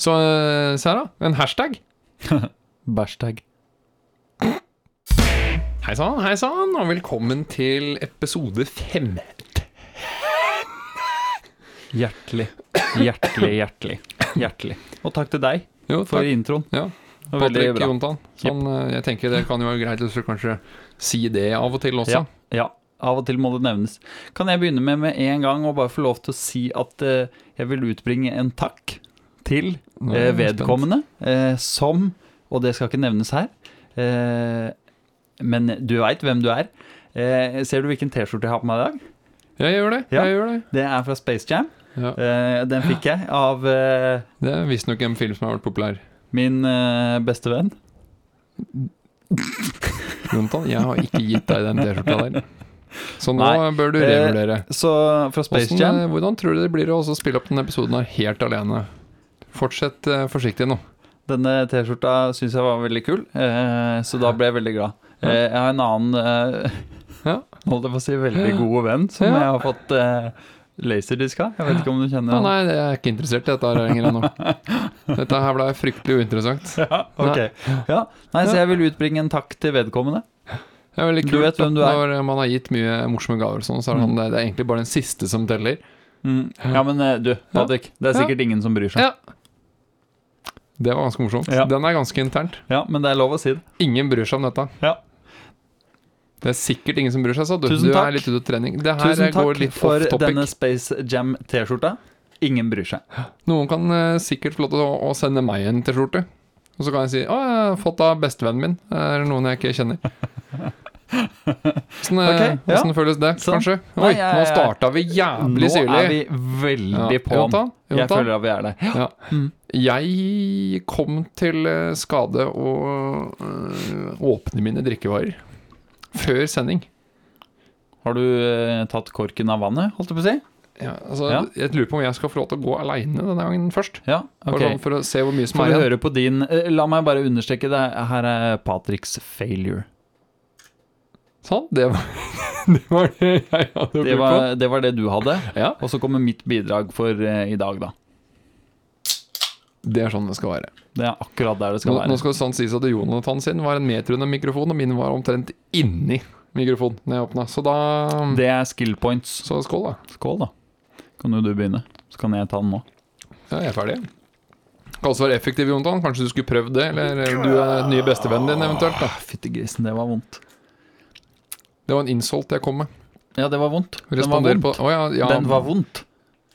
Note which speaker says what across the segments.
Speaker 1: Så eh, se her, da. En hashtag.
Speaker 2: Bæsjtag.
Speaker 1: Hei sann, hei sann, og velkommen til episode fem.
Speaker 2: Hjertelig. Hjertelig, hjertelig. Hjertelig. Og takk til deg
Speaker 1: Jo,
Speaker 2: for
Speaker 1: takk.
Speaker 2: introen.
Speaker 1: Ja,
Speaker 2: Det var veldig
Speaker 1: Patrick
Speaker 2: bra.
Speaker 1: Jontan. Sånn, eh, jeg tenker det kan jo være greit hvis du kanskje si det av og til også.
Speaker 2: Ja, ja. Av og til må det nevnes. Kan jeg begynne med med en gang og bare få lov til å si at eh, jeg vil utbringe en takk til
Speaker 1: Nå er
Speaker 2: eh,
Speaker 1: jeg
Speaker 2: vedkommende eh, som, og det skal ikke nevnes her, eh, men du veit hvem du er. Eh, ser du hvilken T-skjorte jeg har på meg i dag?
Speaker 1: spent. Jeg gjør det.
Speaker 2: Ja.
Speaker 1: jeg gjør det.
Speaker 2: Det er fra Space Jam.
Speaker 1: Ja.
Speaker 2: Eh, den fikk jeg av eh,
Speaker 1: Det er visstnok en film som har vært populær.
Speaker 2: min eh, beste venn.
Speaker 1: Jontan, jeg har ikke gitt deg den T-skjorta der. Så nå
Speaker 2: Nei,
Speaker 1: bør du
Speaker 2: eh,
Speaker 1: revurdere.
Speaker 2: Så fra Space
Speaker 1: Hvordan,
Speaker 2: Jam
Speaker 1: eh, hvordan tror du det blir å også spille opp denne episoden her helt alene? Fortsett eh, forsiktig nå.
Speaker 2: Denne T-skjorta syns jeg var veldig kul, eh, så da ble jeg veldig glad.
Speaker 1: Ja.
Speaker 2: Eh, jeg har en annen eh,
Speaker 1: Ja.
Speaker 2: Holdt jeg på å si veldig god venn som
Speaker 1: Ja.
Speaker 2: jeg har fått eh, laserdisk av. Jeg vet ikke om du
Speaker 1: Å
Speaker 2: kjenner han.
Speaker 1: nei, jeg er ikke interessert i dette her lenger ennå. Dette her ble fryktelig uinteressant.
Speaker 2: Ja, ok. ja. Nei, så jeg vil utbringe en takk til vedkommende.
Speaker 1: Det er veldig
Speaker 2: Du
Speaker 1: kult
Speaker 2: vet hvem
Speaker 1: at
Speaker 2: du er.
Speaker 1: når man har gitt mye morsomme gaver, og sånn, så er det, sånn, det er egentlig bare den siste som teller.
Speaker 2: Mm. Ja, men eh, du, Patrick, det er
Speaker 1: Ja.
Speaker 2: sikkert ingen som bryr seg.
Speaker 1: Ja. Det var ganske morsomt.
Speaker 2: Ja.
Speaker 1: Den er ganske internt.
Speaker 2: Ja, men det er lov å si det.
Speaker 1: Ingen bryr seg om dette.
Speaker 2: Ja.
Speaker 1: Det er sikkert ingen som bryr seg, sa du.
Speaker 2: Tusen
Speaker 1: Du
Speaker 2: takk.
Speaker 1: er litt ute av trening. Det her
Speaker 2: Tusen
Speaker 1: går
Speaker 2: takk
Speaker 1: litt
Speaker 2: for
Speaker 1: off topic.
Speaker 2: denne Space Jam-T-skjorta. Ingen bryr seg.
Speaker 1: Noen kan eh, sikkert få lov til å, å sende meg en T-skjorte. Og så kan jeg si 'Å, jeg har fått av bestevennen min'. Det er noen jeg ikke kjenner. Åssen
Speaker 2: Ok, ja.
Speaker 1: føles det,
Speaker 2: Sånn.
Speaker 1: kanskje?
Speaker 2: Nei,
Speaker 1: Oi,
Speaker 2: jeg-
Speaker 1: nå starta vi jævlig
Speaker 2: Nå
Speaker 1: syrlig.
Speaker 2: er vi veldig
Speaker 1: Ja.
Speaker 2: på den.
Speaker 1: Jonathan,
Speaker 2: Jeg
Speaker 1: Jonathan.
Speaker 2: føler at vi er der.
Speaker 1: Ja.
Speaker 2: Mm.
Speaker 1: Jeg kom til eh, skade å øh, åpne mine drikkevarer før sending.
Speaker 2: Har du eh, tatt korken av vannet, holdt jeg på å si?
Speaker 1: Ja, altså,
Speaker 2: Ja.
Speaker 1: Jeg lurer på om jeg skal få lov til å gå aleine denne gangen først.
Speaker 2: Ja,
Speaker 1: Bare
Speaker 2: ok.
Speaker 1: sånn For å se hvor mye som
Speaker 2: Får
Speaker 1: er
Speaker 2: vi
Speaker 1: igjen.
Speaker 2: høre på din eh, La meg bare understreke det. Her er Patricks failure.
Speaker 1: Sånn, det var det, var det jeg hadde
Speaker 2: Det
Speaker 1: lurt på.
Speaker 2: var, det var det du hadde.
Speaker 1: Ja.
Speaker 2: Og så kommer mitt bidrag for eh, i dag, da.
Speaker 1: Det er sånn det skal være.
Speaker 2: Det er akkurat der det skal
Speaker 1: Nå, nå
Speaker 2: være.
Speaker 1: skal det sant sies at Jonathan sin var en meter under mikrofonen, og min var omtrent inni mikrofonen når jeg åpna. Så da
Speaker 2: Det er skill points.
Speaker 1: Så skål, da.
Speaker 2: Skål, da. Kan jo du begynne. Så kan jeg ta den nå.
Speaker 1: Ja, jeg er ferdig. Kan også være effektiv, Jonathan. Kanskje du skulle prøvd det? Eller du er den nye bestevennen din, eventuelt. da
Speaker 2: Ah, Fytti grisen, det var vondt.
Speaker 1: Det var en insult jeg kom med.
Speaker 2: Ja, det var vondt. Den var
Speaker 1: Responder
Speaker 2: vondt.
Speaker 1: på Å ja, ja,
Speaker 2: Den var vondt.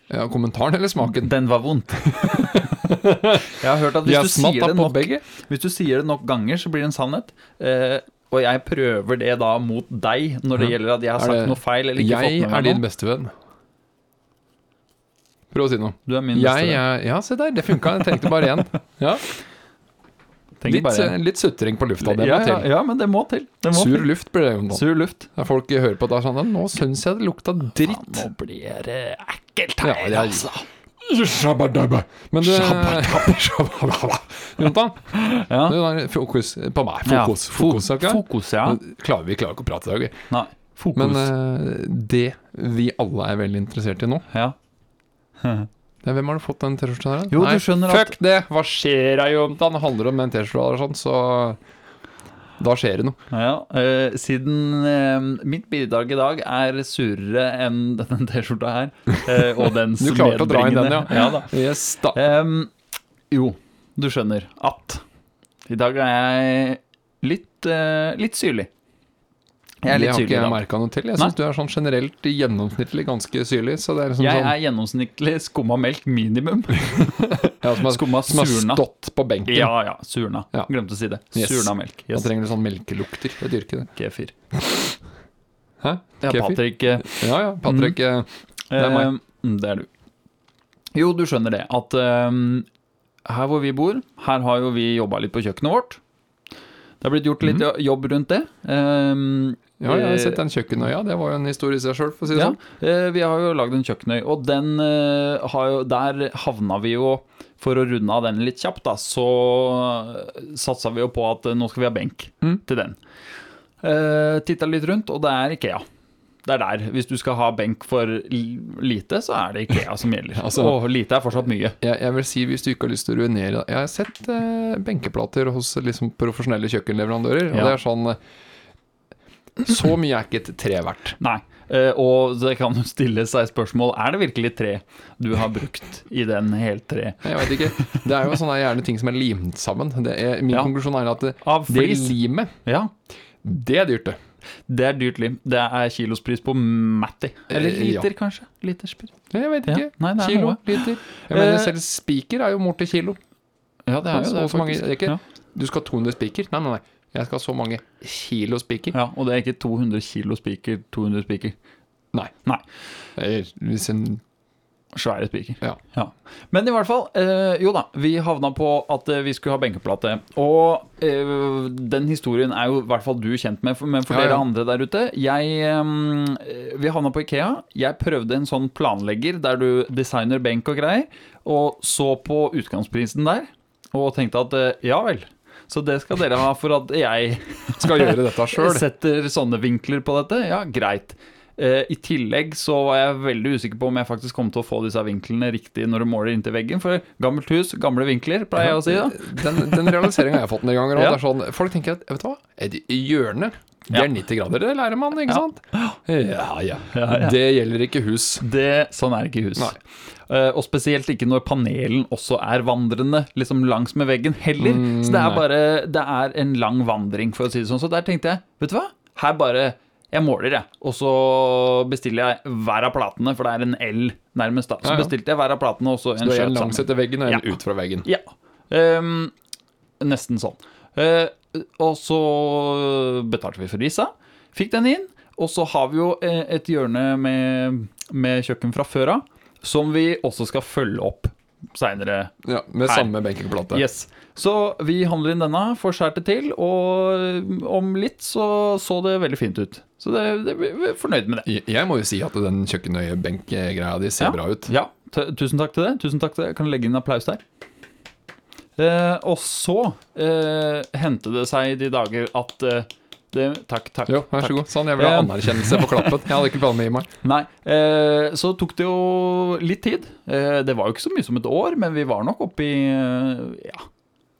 Speaker 1: ja, kommentaren eller smaken?
Speaker 2: Den var vondt. jeg har hørt at hvis
Speaker 1: Jeg
Speaker 2: du, sier
Speaker 1: smatta på
Speaker 2: det nok,
Speaker 1: begge.
Speaker 2: hvis du sier det nok ganger, så blir det en sannhet. Eh, og jeg prøver det da mot deg når det gjelder at jeg har
Speaker 1: Er
Speaker 2: sagt
Speaker 1: det-
Speaker 2: noe feil eller ikke
Speaker 1: Jeg
Speaker 2: fått med
Speaker 1: er
Speaker 2: meg noe.
Speaker 1: din bestevenn. Prøv å si noe.
Speaker 2: Du er min beste
Speaker 1: Jeg
Speaker 2: venn.
Speaker 1: er Ja, se der, det funka. Jeg tenkte bare én. Ja.
Speaker 2: Tenker
Speaker 1: Litt,
Speaker 2: bare-
Speaker 1: eh, litt sutring på lufta, det
Speaker 2: ja,
Speaker 1: må
Speaker 2: ja,
Speaker 1: til.
Speaker 2: ja, men det må til. Det må
Speaker 1: Sur
Speaker 2: til.
Speaker 1: luft blir det, Jonathan.
Speaker 2: Sur luft.
Speaker 1: Når folk hører på det er sånn «Ja, Nå syns jeg det lukta
Speaker 2: Faen,
Speaker 1: dritt.
Speaker 2: nå blir det ekkelt
Speaker 1: Ja,
Speaker 2: her,
Speaker 1: det er-
Speaker 2: altså.
Speaker 1: Shabadabba. Men du Shabadabba. Jontan,
Speaker 2: Ja.
Speaker 1: du har fokus på meg.
Speaker 2: Ja,
Speaker 1: Fokus. fokus, ok?
Speaker 2: Fokus, ja.
Speaker 1: Klarer vi klarer ikke å prate i dag. vi.
Speaker 2: Nei, fokus.
Speaker 1: Men eh, det vi alle er veldig interessert i nå
Speaker 2: ja.
Speaker 1: det er, Hvem har du fått den T-skjorta her?
Speaker 2: Jo, du
Speaker 1: Nei,
Speaker 2: skjønner at-
Speaker 1: fuck det! Hva skjer da, Jontan? Det handler om den T-skjorta og sånn, så Da skjer det noe.
Speaker 2: ja eh, siden eh, mitt bidrag i dag er surere enn denne T-skjorta her, eh, og dens
Speaker 1: Du klarte å dra inn den, ja.
Speaker 2: medbringende- ja da.
Speaker 1: Yes, da.
Speaker 2: Ehm, jo, du skjønner at i dag er jeg litt, eh, litt syrlig. Jeg er
Speaker 1: Det
Speaker 2: litt
Speaker 1: har
Speaker 2: syrlig
Speaker 1: ikke
Speaker 2: i
Speaker 1: jeg
Speaker 2: dag.
Speaker 1: merka noe til. Jeg
Speaker 2: Nei.
Speaker 1: syns du er sånn generelt gjennomsnittlig ganske syrlig. Så det er liksom
Speaker 2: Jeg
Speaker 1: sånn
Speaker 2: er gjennomsnittlig skumma melk minimum.
Speaker 1: Ja, som har,
Speaker 2: Skumma
Speaker 1: som har
Speaker 2: surna.
Speaker 1: stått på benken.
Speaker 2: Ja, ja. Surna.
Speaker 1: Ja.
Speaker 2: Glemte å si det.
Speaker 1: Yes.
Speaker 2: Surna melk.
Speaker 1: Da
Speaker 2: Yes.
Speaker 1: trenger du sånn melkelukter. Det dyrker det.
Speaker 2: Kefir.
Speaker 1: Hæ?
Speaker 2: Ja,
Speaker 1: Kefir?
Speaker 2: Patrick. eh,
Speaker 1: Ja, ja. Patrick eh, Det er
Speaker 2: eh,
Speaker 1: meg.
Speaker 2: mm, det er du. Jo, du skjønner det, at eh, her hvor vi bor, her har jo vi jobba litt på kjøkkenet vårt. Det har blitt gjort litt
Speaker 1: Mhm.
Speaker 2: jo- jobb rundt det. Um,
Speaker 1: Ja, jeg har sett den kjøkkenøya. Det var jo en historie i seg sjøl, for å si det
Speaker 2: Ja,
Speaker 1: sånn.
Speaker 2: eh, vi har jo lagd en kjøkkenøy, og den eh, har jo, der havna vi jo For å runde av den litt kjapt, da, så satsa vi jo på at eh, nå skal vi ha benk Eh,
Speaker 1: Mm.
Speaker 2: til den. Uh, Titta litt rundt, og det er Ikea. Det er der. Hvis du skal ha benk for l- lite, så er det Ikea som gjelder.
Speaker 1: Altså-
Speaker 2: og lite er fortsatt mye.
Speaker 1: Jeg, jeg vil si hvis du ikke har lyst til å ruinere Jeg har sett eh, benkeplater hos liksom, profesjonelle kjøkkenleverandører, og
Speaker 2: Ja.
Speaker 1: det er sånn eh, Så mye er ikke et tre verdt.
Speaker 2: Nei. Eh, og det kan jo stille seg spørsmål Er det virkelig tre du har brukt i den helt tre?
Speaker 1: Jeg vet ikke. Det er jo sånne gjerne ting som er limt sammen. Det er, min
Speaker 2: Ja.
Speaker 1: konklusjon er at det,
Speaker 2: Av
Speaker 1: det
Speaker 2: flis?
Speaker 1: limet,
Speaker 2: Ja.
Speaker 1: det er dyrt, det.
Speaker 2: Det er dyrt lim. Det er kilospris på Matti. Eller
Speaker 1: Eh, ja.
Speaker 2: liter, kanskje. Literspris.
Speaker 1: Jeg vet
Speaker 2: Ja.
Speaker 1: ikke.
Speaker 2: Nei, det er
Speaker 1: kilo,
Speaker 2: noe.
Speaker 1: liter. Jeg mener,
Speaker 2: Eh,
Speaker 1: selv spiker er jo mor til kilo.
Speaker 2: Ja, det
Speaker 1: Så- så mange-
Speaker 2: faktisk.
Speaker 1: det er ikke-
Speaker 2: ja.
Speaker 1: Du skal ha 200 spiker? Nei, nei, nei. Jeg skal ha så mange kilo spiker.
Speaker 2: ja, Og det er ikke 200 kilo spiker, 200 spiker.
Speaker 1: Nei.
Speaker 2: Nei.
Speaker 1: Eller Hvis en
Speaker 2: Svære spiker.
Speaker 1: Ja.
Speaker 2: Men i hvert fall, eh, jo da, vi havna på at eh, vi skulle ha benkeplate. Og eh, den historien er jo i hvert fall du kjent med, for- men for
Speaker 1: Ja,
Speaker 2: dere
Speaker 1: ja.
Speaker 2: andre der ute jeg, eh, Vi havna på Ikea. Jeg prøvde en sånn planlegger der du designer benk og greier, og så på utgangsprisen der og tenkte at eh, ja vel. Så det skal dere ha for at jeg
Speaker 1: skal gjøre dette sjøl.
Speaker 2: setter sånne vinkler på dette, ja, greit. Eh, I tillegg så var jeg veldig usikker på om jeg faktisk kom til å få disse vinklene riktig når du måler inntil veggen, for gammelt hus, gamle vinkler, pleier jeg å si da.
Speaker 1: Den, den realiseringa har jeg fått en del ganger. og
Speaker 2: Ja.
Speaker 1: Det er sånn, folk tenker at vet du hva, et hjørne det
Speaker 2: Ja.
Speaker 1: er 90 grader, det lærer man, ikke
Speaker 2: Ja.
Speaker 1: sant? Ja, ja.
Speaker 2: Ja, ja.
Speaker 1: Det gjelder ikke hus.
Speaker 2: Det, sånn er ikke hus.
Speaker 1: Nei.
Speaker 2: Eh, og spesielt ikke når panelen også er vandrende liksom langs med veggen heller. så det
Speaker 1: Mm,
Speaker 2: er
Speaker 1: nei.
Speaker 2: bare det er en lang vandring, for å si det sånn. Så der tenkte jeg, vet du hva, her bare jeg måler, jeg. Og så bestiller jeg hver av platene, for det er en L nærmest, da. Så
Speaker 1: Ja, ja.
Speaker 2: bestilte jeg hver av platene, og så en
Speaker 1: Du er
Speaker 2: skjøt
Speaker 1: en
Speaker 2: sammen.
Speaker 1: langs etter veggen og en
Speaker 2: Ja.
Speaker 1: ut fra veggen.
Speaker 2: Ja. Ehm, nesten sånn. Eh, og så betalte vi for risa. Fikk den inn. Og så har vi jo eh, et hjørne med, med kjøkken fra før av, som vi også skal følge opp seinere.
Speaker 1: Ja, med
Speaker 2: Her.
Speaker 1: samme benkeplate.
Speaker 2: Yes. Så vi handler inn denne, får skåret det til, og om litt så så det veldig fint ut. Så det, det, vi vi er fornøyd med det.
Speaker 1: Jeg jeg må jo si at den kjøkkenøyebenkgreia di ser bra ut.
Speaker 2: Ja, tu- tusen takk til det. Tusen takk til det. Jeg kan legge inn en applaus der. Eh, og så eh, hendte det seg i de dager at eh, det, Takk, takk.
Speaker 1: Jo, vær så god. Sånn, jeg vil ha
Speaker 2: Eh.
Speaker 1: anerkjennelse på klappen. Jeg hadde ikke planer i meg.
Speaker 2: Nei, eh, så tok det jo litt tid. Eh, det var jo ikke så mye som et år, men vi var nok oppe i eh, ja,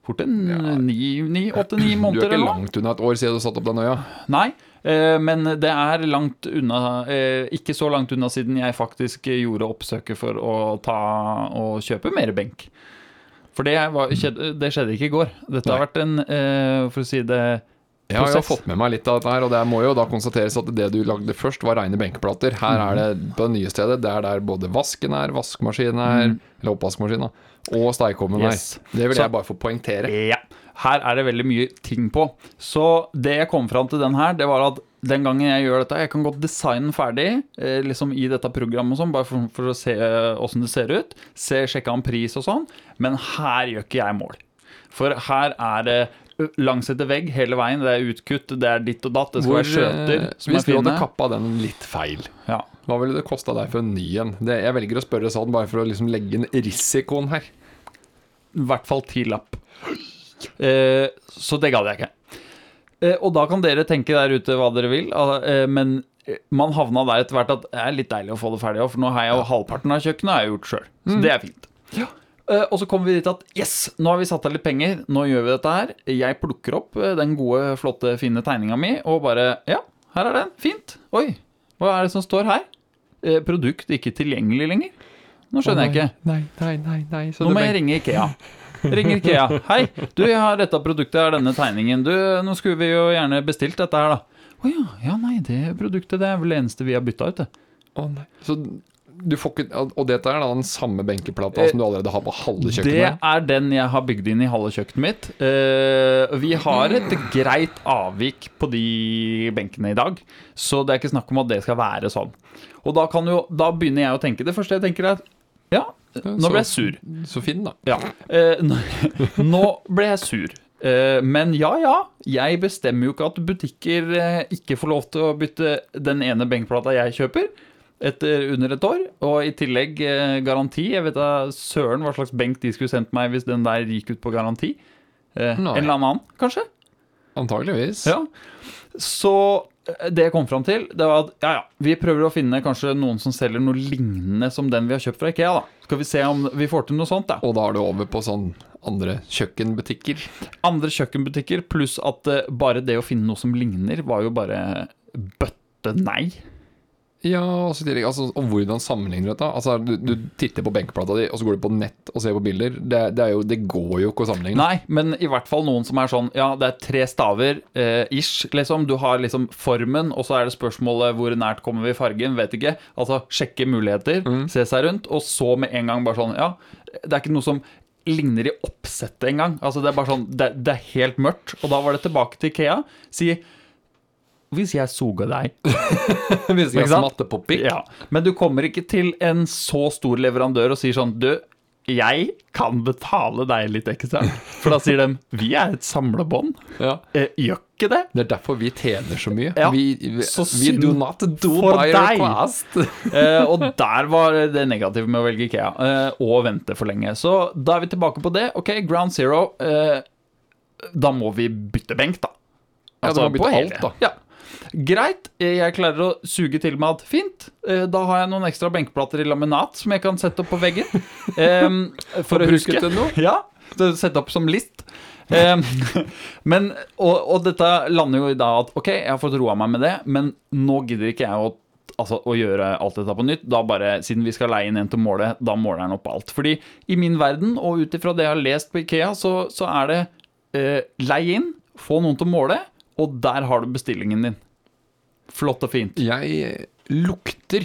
Speaker 2: fort en
Speaker 1: Ja.
Speaker 2: ni, ni, åtte-ni
Speaker 1: Du er
Speaker 2: måneder
Speaker 1: ikke
Speaker 2: eller noe.
Speaker 1: langt unna et år siden du satte opp den øya.
Speaker 2: Nei, eh, men det er langt unna eh, Ikke så langt unna siden jeg faktisk gjorde oppsøket for å ta og kjøpe mer benk. For det, var, skjedde, det skjedde ikke i går. Dette har
Speaker 1: Nei.
Speaker 2: vært en, eh, for å si det
Speaker 1: Jeg har jo
Speaker 2: prosess.
Speaker 1: fått med meg litt av dette her, og det må jo da konstateres at det du lagde først, var rene benkeplater. Her er det
Speaker 2: Mhm.
Speaker 1: på det nye stedet, det er der både vasken er, vaskemaskinen er, eller oppvaskmaskinen, da, og stekeovnen
Speaker 2: Mhm. Yes.
Speaker 1: er. Det vil
Speaker 2: Så-
Speaker 1: jeg bare få poengtere.
Speaker 2: Ja. Her er det veldig mye ting på. Så det jeg kom fram til den her, det var at den gangen jeg gjør dette Jeg kan godt designe den ferdig eh, liksom i dette programmet, og sånn, bare for, for å se eh, åssen det ser ut. Se, Sjekke an pris og sånn. Men her gjør ikke jeg mål. For her er det ø, langs etter vegg hele veien. Det er utkutt, det er ditt og datt. Det skal være skjøter
Speaker 1: eh,
Speaker 2: som
Speaker 1: hvis
Speaker 2: er
Speaker 1: du hadde
Speaker 2: fine.
Speaker 1: kappa den litt feil,
Speaker 2: Ja.
Speaker 1: hva ville det kosta deg for en ny en? Det- Jeg velger å spørre sånn bare for å liksom legge inn risikoen her.
Speaker 2: I hvert fall ti lapp. Eh, så det gadd jeg ikke. Eh, og da kan dere tenke der ute hva dere vil, al- eh, men eh, man havna der etter hvert at det er litt deilig å få det ferdig òg, for nå har jeg jo halvparten av kjøkkenet har jeg gjort sjøl. Så det er fint. Eh, og så kommer vi dit at yes, nå har vi satt av litt penger, nå gjør vi dette her. Jeg plukker opp eh, den gode, flotte, fine tegninga mi og bare Ja, her er den. Fint. Oi, hva er det som står her? Eh, produkt ikke tilgjengelig lenger. Nå skjønner jeg ikke.
Speaker 1: Nei, nei, nei, nei. Så
Speaker 2: Nå
Speaker 1: det
Speaker 2: må jeg
Speaker 1: benk-
Speaker 2: ringe Ikea. Ringer Ikea. Hei, du, jeg har dette produktet, jeg har denne tegningen. Du, nå skulle vi jo gjerne bestilt dette her, da. Å ja, ja, nei, det produktet det er vel det eneste vi har bytta ut, det.
Speaker 1: Å, nei. Så du får ikke Og dette er da den samme benkeplata som du allerede har på halve
Speaker 2: Eh, Det
Speaker 1: kjøkkenet?
Speaker 2: er den jeg har bygd inn i halve kjøkkenet mitt. Eh, vi har et greit avvik på de benkene i dag, så det er ikke snakk om at det skal være sånn. Og da, kan jo, da begynner jeg å tenke det første jeg tenker, er at ja, nå ble jeg sur.
Speaker 1: Så fin, da.
Speaker 2: Ja. Eh, nå- nå ble jeg sur. Eh, men ja, ja. Jeg bestemmer jo ikke at butikker eh, ikke får lov til å bytte den ene benkplata jeg kjøper. Etter under et år, og i tillegg eh, garanti. Jeg vet da søren hva slags benk de skulle sendt meg hvis den der gikk ut på garanti. Eh, en
Speaker 1: Nei.
Speaker 2: eller annen, kanskje?
Speaker 1: Antageligvis.
Speaker 2: Ja. Så eh, det jeg kom fram til, det var at ja, ja, vi prøver å finne kanskje noen som selger noe lignende som den vi har kjøpt fra Ikea. da. Skal vi se om vi får til noe sånt, da.
Speaker 1: Og da er du over på sånn andre kjøkkenbutikker.
Speaker 2: Andre kjøkkenbutikker, pluss at eh, bare det å finne noe som ligner, var jo bare bøtte nei.
Speaker 1: Ja, og så i tillegg, altså, og hvordan sammenligner du dette? Altså, du, du titter på benkeplata di, og så går du på nett og ser på bilder. Det, det, er jo, det går jo ikke å sammenligne.
Speaker 2: Nei, men i hvert fall noen som er sånn Ja, det er tre staver, eh, ish, liksom. Du har liksom formen, og så er det spørsmålet hvor nært kommer vi fargen, vet ikke. Altså sjekke muligheter, se seg rundt, og så med en gang bare sånn Ja, det er ikke noe som ligner i oppsettet engang. Altså, det er bare sånn det, det er helt mørkt. Og da var det tilbake til Ikea. Si hvis jeg soga deg
Speaker 1: Hvis sånn jeg
Speaker 2: Ikke sant?
Speaker 1: smatter på pikk.
Speaker 2: ja. Men du kommer ikke til en så stor leverandør og sier sånn Du, jeg kan betale deg litt ekstra. For da sier de Vi er et samlebånd.
Speaker 1: Ja.
Speaker 2: Eh, gjør ikke det?
Speaker 1: Det er derfor vi tjener så mye.
Speaker 2: Ja,
Speaker 1: Vi, vi,
Speaker 2: så
Speaker 1: we
Speaker 2: synd
Speaker 1: do not do
Speaker 2: for
Speaker 1: by
Speaker 2: deg.
Speaker 1: request.
Speaker 2: Eh, og der var det negative med å velge Ikea. Eh, og vente for lenge. Så da er vi tilbake på det. Ok, ground zero. Eh, da må vi bytte benk, da.
Speaker 1: Ja, du må bytte
Speaker 2: Altså, på hele.
Speaker 1: alt, da.
Speaker 2: Ja. Greit, eh, jeg klarer å suge til meg at fint, eh, da har jeg noen ekstra benkeplater i laminat som jeg kan sette opp på veggen. Em, for å
Speaker 1: Og bruke
Speaker 2: huske.
Speaker 1: til noe.
Speaker 2: Ja, så sette opp som list. Em, men, og, og dette lander jo i da at ok, jeg har fått roa meg med det, men nå gidder ikke jeg å, altså, å gjøre alt dette på nytt. Da bare, Siden vi skal leie inn en til å måle, da måler han opp alt. Fordi i min verden, og ut ifra det jeg har lest på Ikea, så, så er det eh, leie inn, få noen til å måle, og der har du bestillingen din. Flott og fint.
Speaker 1: Jeg lukter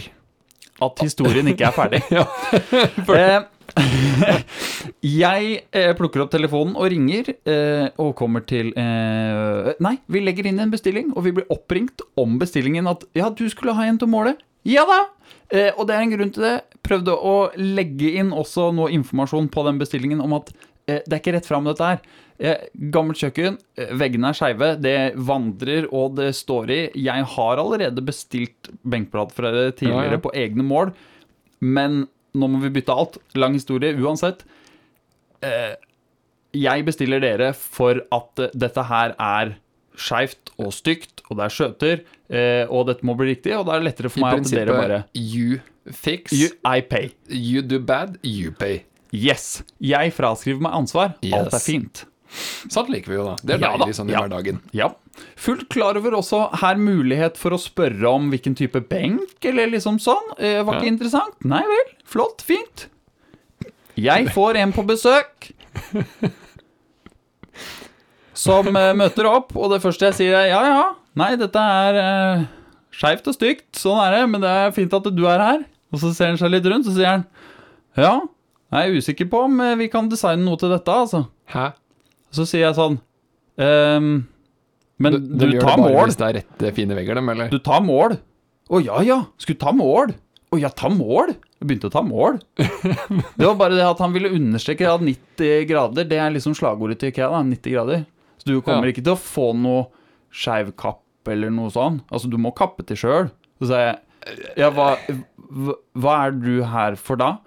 Speaker 2: At historien ikke er ferdig.
Speaker 1: Ja.
Speaker 2: Eh, jeg eh, plukker opp telefonen og ringer, eh, og kommer til eh, Nei, vi legger inn en bestilling, og vi blir oppringt om bestillingen at Ja, du skulle ha en til å måle. Ja da! Eh, og det er en grunn til det. Prøvde å legge inn også noe informasjon på den bestillingen om at eh, det er ikke rett fram, dette her. Eh, gammelt kjøkken, eh, veggene er skeive, det vandrer og det står i. Jeg har allerede bestilt benkplate fra dere tidligere
Speaker 1: Ja, ja.
Speaker 2: på egne mål, men nå må vi bytte alt. Lang historie uansett. Eh, jeg bestiller dere for at eh, dette her er skeivt og stygt, og det er skjøter, eh, og dette må bli riktig, og da er det
Speaker 1: i
Speaker 2: lettere for meg at dere bare
Speaker 1: prinsippet you fix,
Speaker 2: you,
Speaker 1: you,
Speaker 2: I pay.
Speaker 1: do bad, you pay.
Speaker 2: Yes. Jeg fraskriver meg ansvar. Alt er
Speaker 1: Yes.
Speaker 2: fint.
Speaker 1: Sånn liker vi jo, da. Det er
Speaker 2: Ja da,
Speaker 1: deilig sånn i
Speaker 2: ja.
Speaker 1: hverdagen.
Speaker 2: Ja. Fullt klar over også her mulighet for å spørre om hvilken type benk, eller liksom sånn. Eh, var ikke
Speaker 1: Ja.
Speaker 2: interessant? Nei vel. Flott. Fint. Jeg får en på besøk. Som eh, møter opp, og det første jeg sier er ja, ja. Nei, dette er eh, skeivt og stygt, sånn er det, men det er fint at du er her. Og så ser han seg litt rundt, så sier han ja, jeg er usikker på om eh, vi kan designe noe til dette, altså.
Speaker 1: Hæ?
Speaker 2: Så sier jeg sånn ehm, Men
Speaker 1: De,
Speaker 2: du,
Speaker 1: de gjør
Speaker 2: tar
Speaker 1: det bare
Speaker 2: mål.
Speaker 1: hvis det er rette, fine vegger, dem, eller?
Speaker 2: Du tar mål. Å ja, ja. Skulle ta mål. Å ja, ta mål. Jeg begynte å ta mål. Det var bare det at han ville understreke at 90 grader, det er liksom slagordet til IKEA. da, 90 grader. Så du kommer
Speaker 1: Ja.
Speaker 2: ikke til å få noe skeiv kapp eller noe sånn. Altså, du må kappe til sjøl. Så sa jeg Ja, hva, hva- hva er du her for da?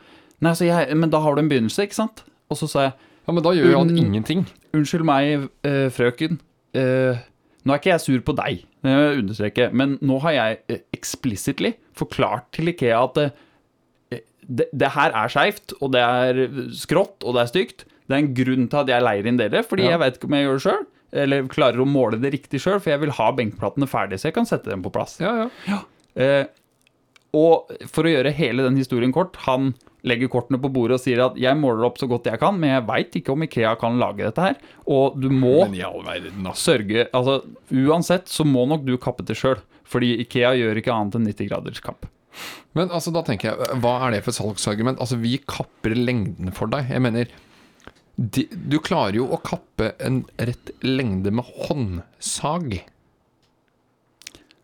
Speaker 2: Nei, så jeg Men da har du en begynnelse, ikke sant? Og så sa jeg
Speaker 1: Ja, Men da gjør jo han
Speaker 2: Mm.
Speaker 1: ingenting.
Speaker 2: Unnskyld meg, eh, frøken. Eh, nå er ikke jeg sur på deg, det må jeg understreke, men nå har jeg eh, explicitly forklart til Ikea at eh, det, det her er skeivt, og det er skrått, og det er stygt. Det er en grunn til at jeg leier inn dere, fordi
Speaker 1: Ja.
Speaker 2: jeg vet ikke om jeg gjør det sjøl. Eller klarer å måle det riktig sjøl, for jeg vil ha benkplatene ferdig, så jeg kan sette dem på plass.
Speaker 1: Ja, ja.
Speaker 2: Eh, og for å gjøre hele den historien kort, han legger kortene på bordet og sier at jeg måler opp så godt jeg kan, men jeg veit ikke om Ikea kan lage dette her. Og du må
Speaker 1: Men i all verden, altså.
Speaker 2: sørge Altså, uansett så må nok du kappe det sjøl. Fordi Ikea gjør ikke annet enn 90 graders kapp.
Speaker 1: Men altså, da tenker jeg, hva er det for salgsargument? Altså, vi kapper lengden for deg. Jeg mener, de, du klarer jo å kappe en rett lengde med håndsag.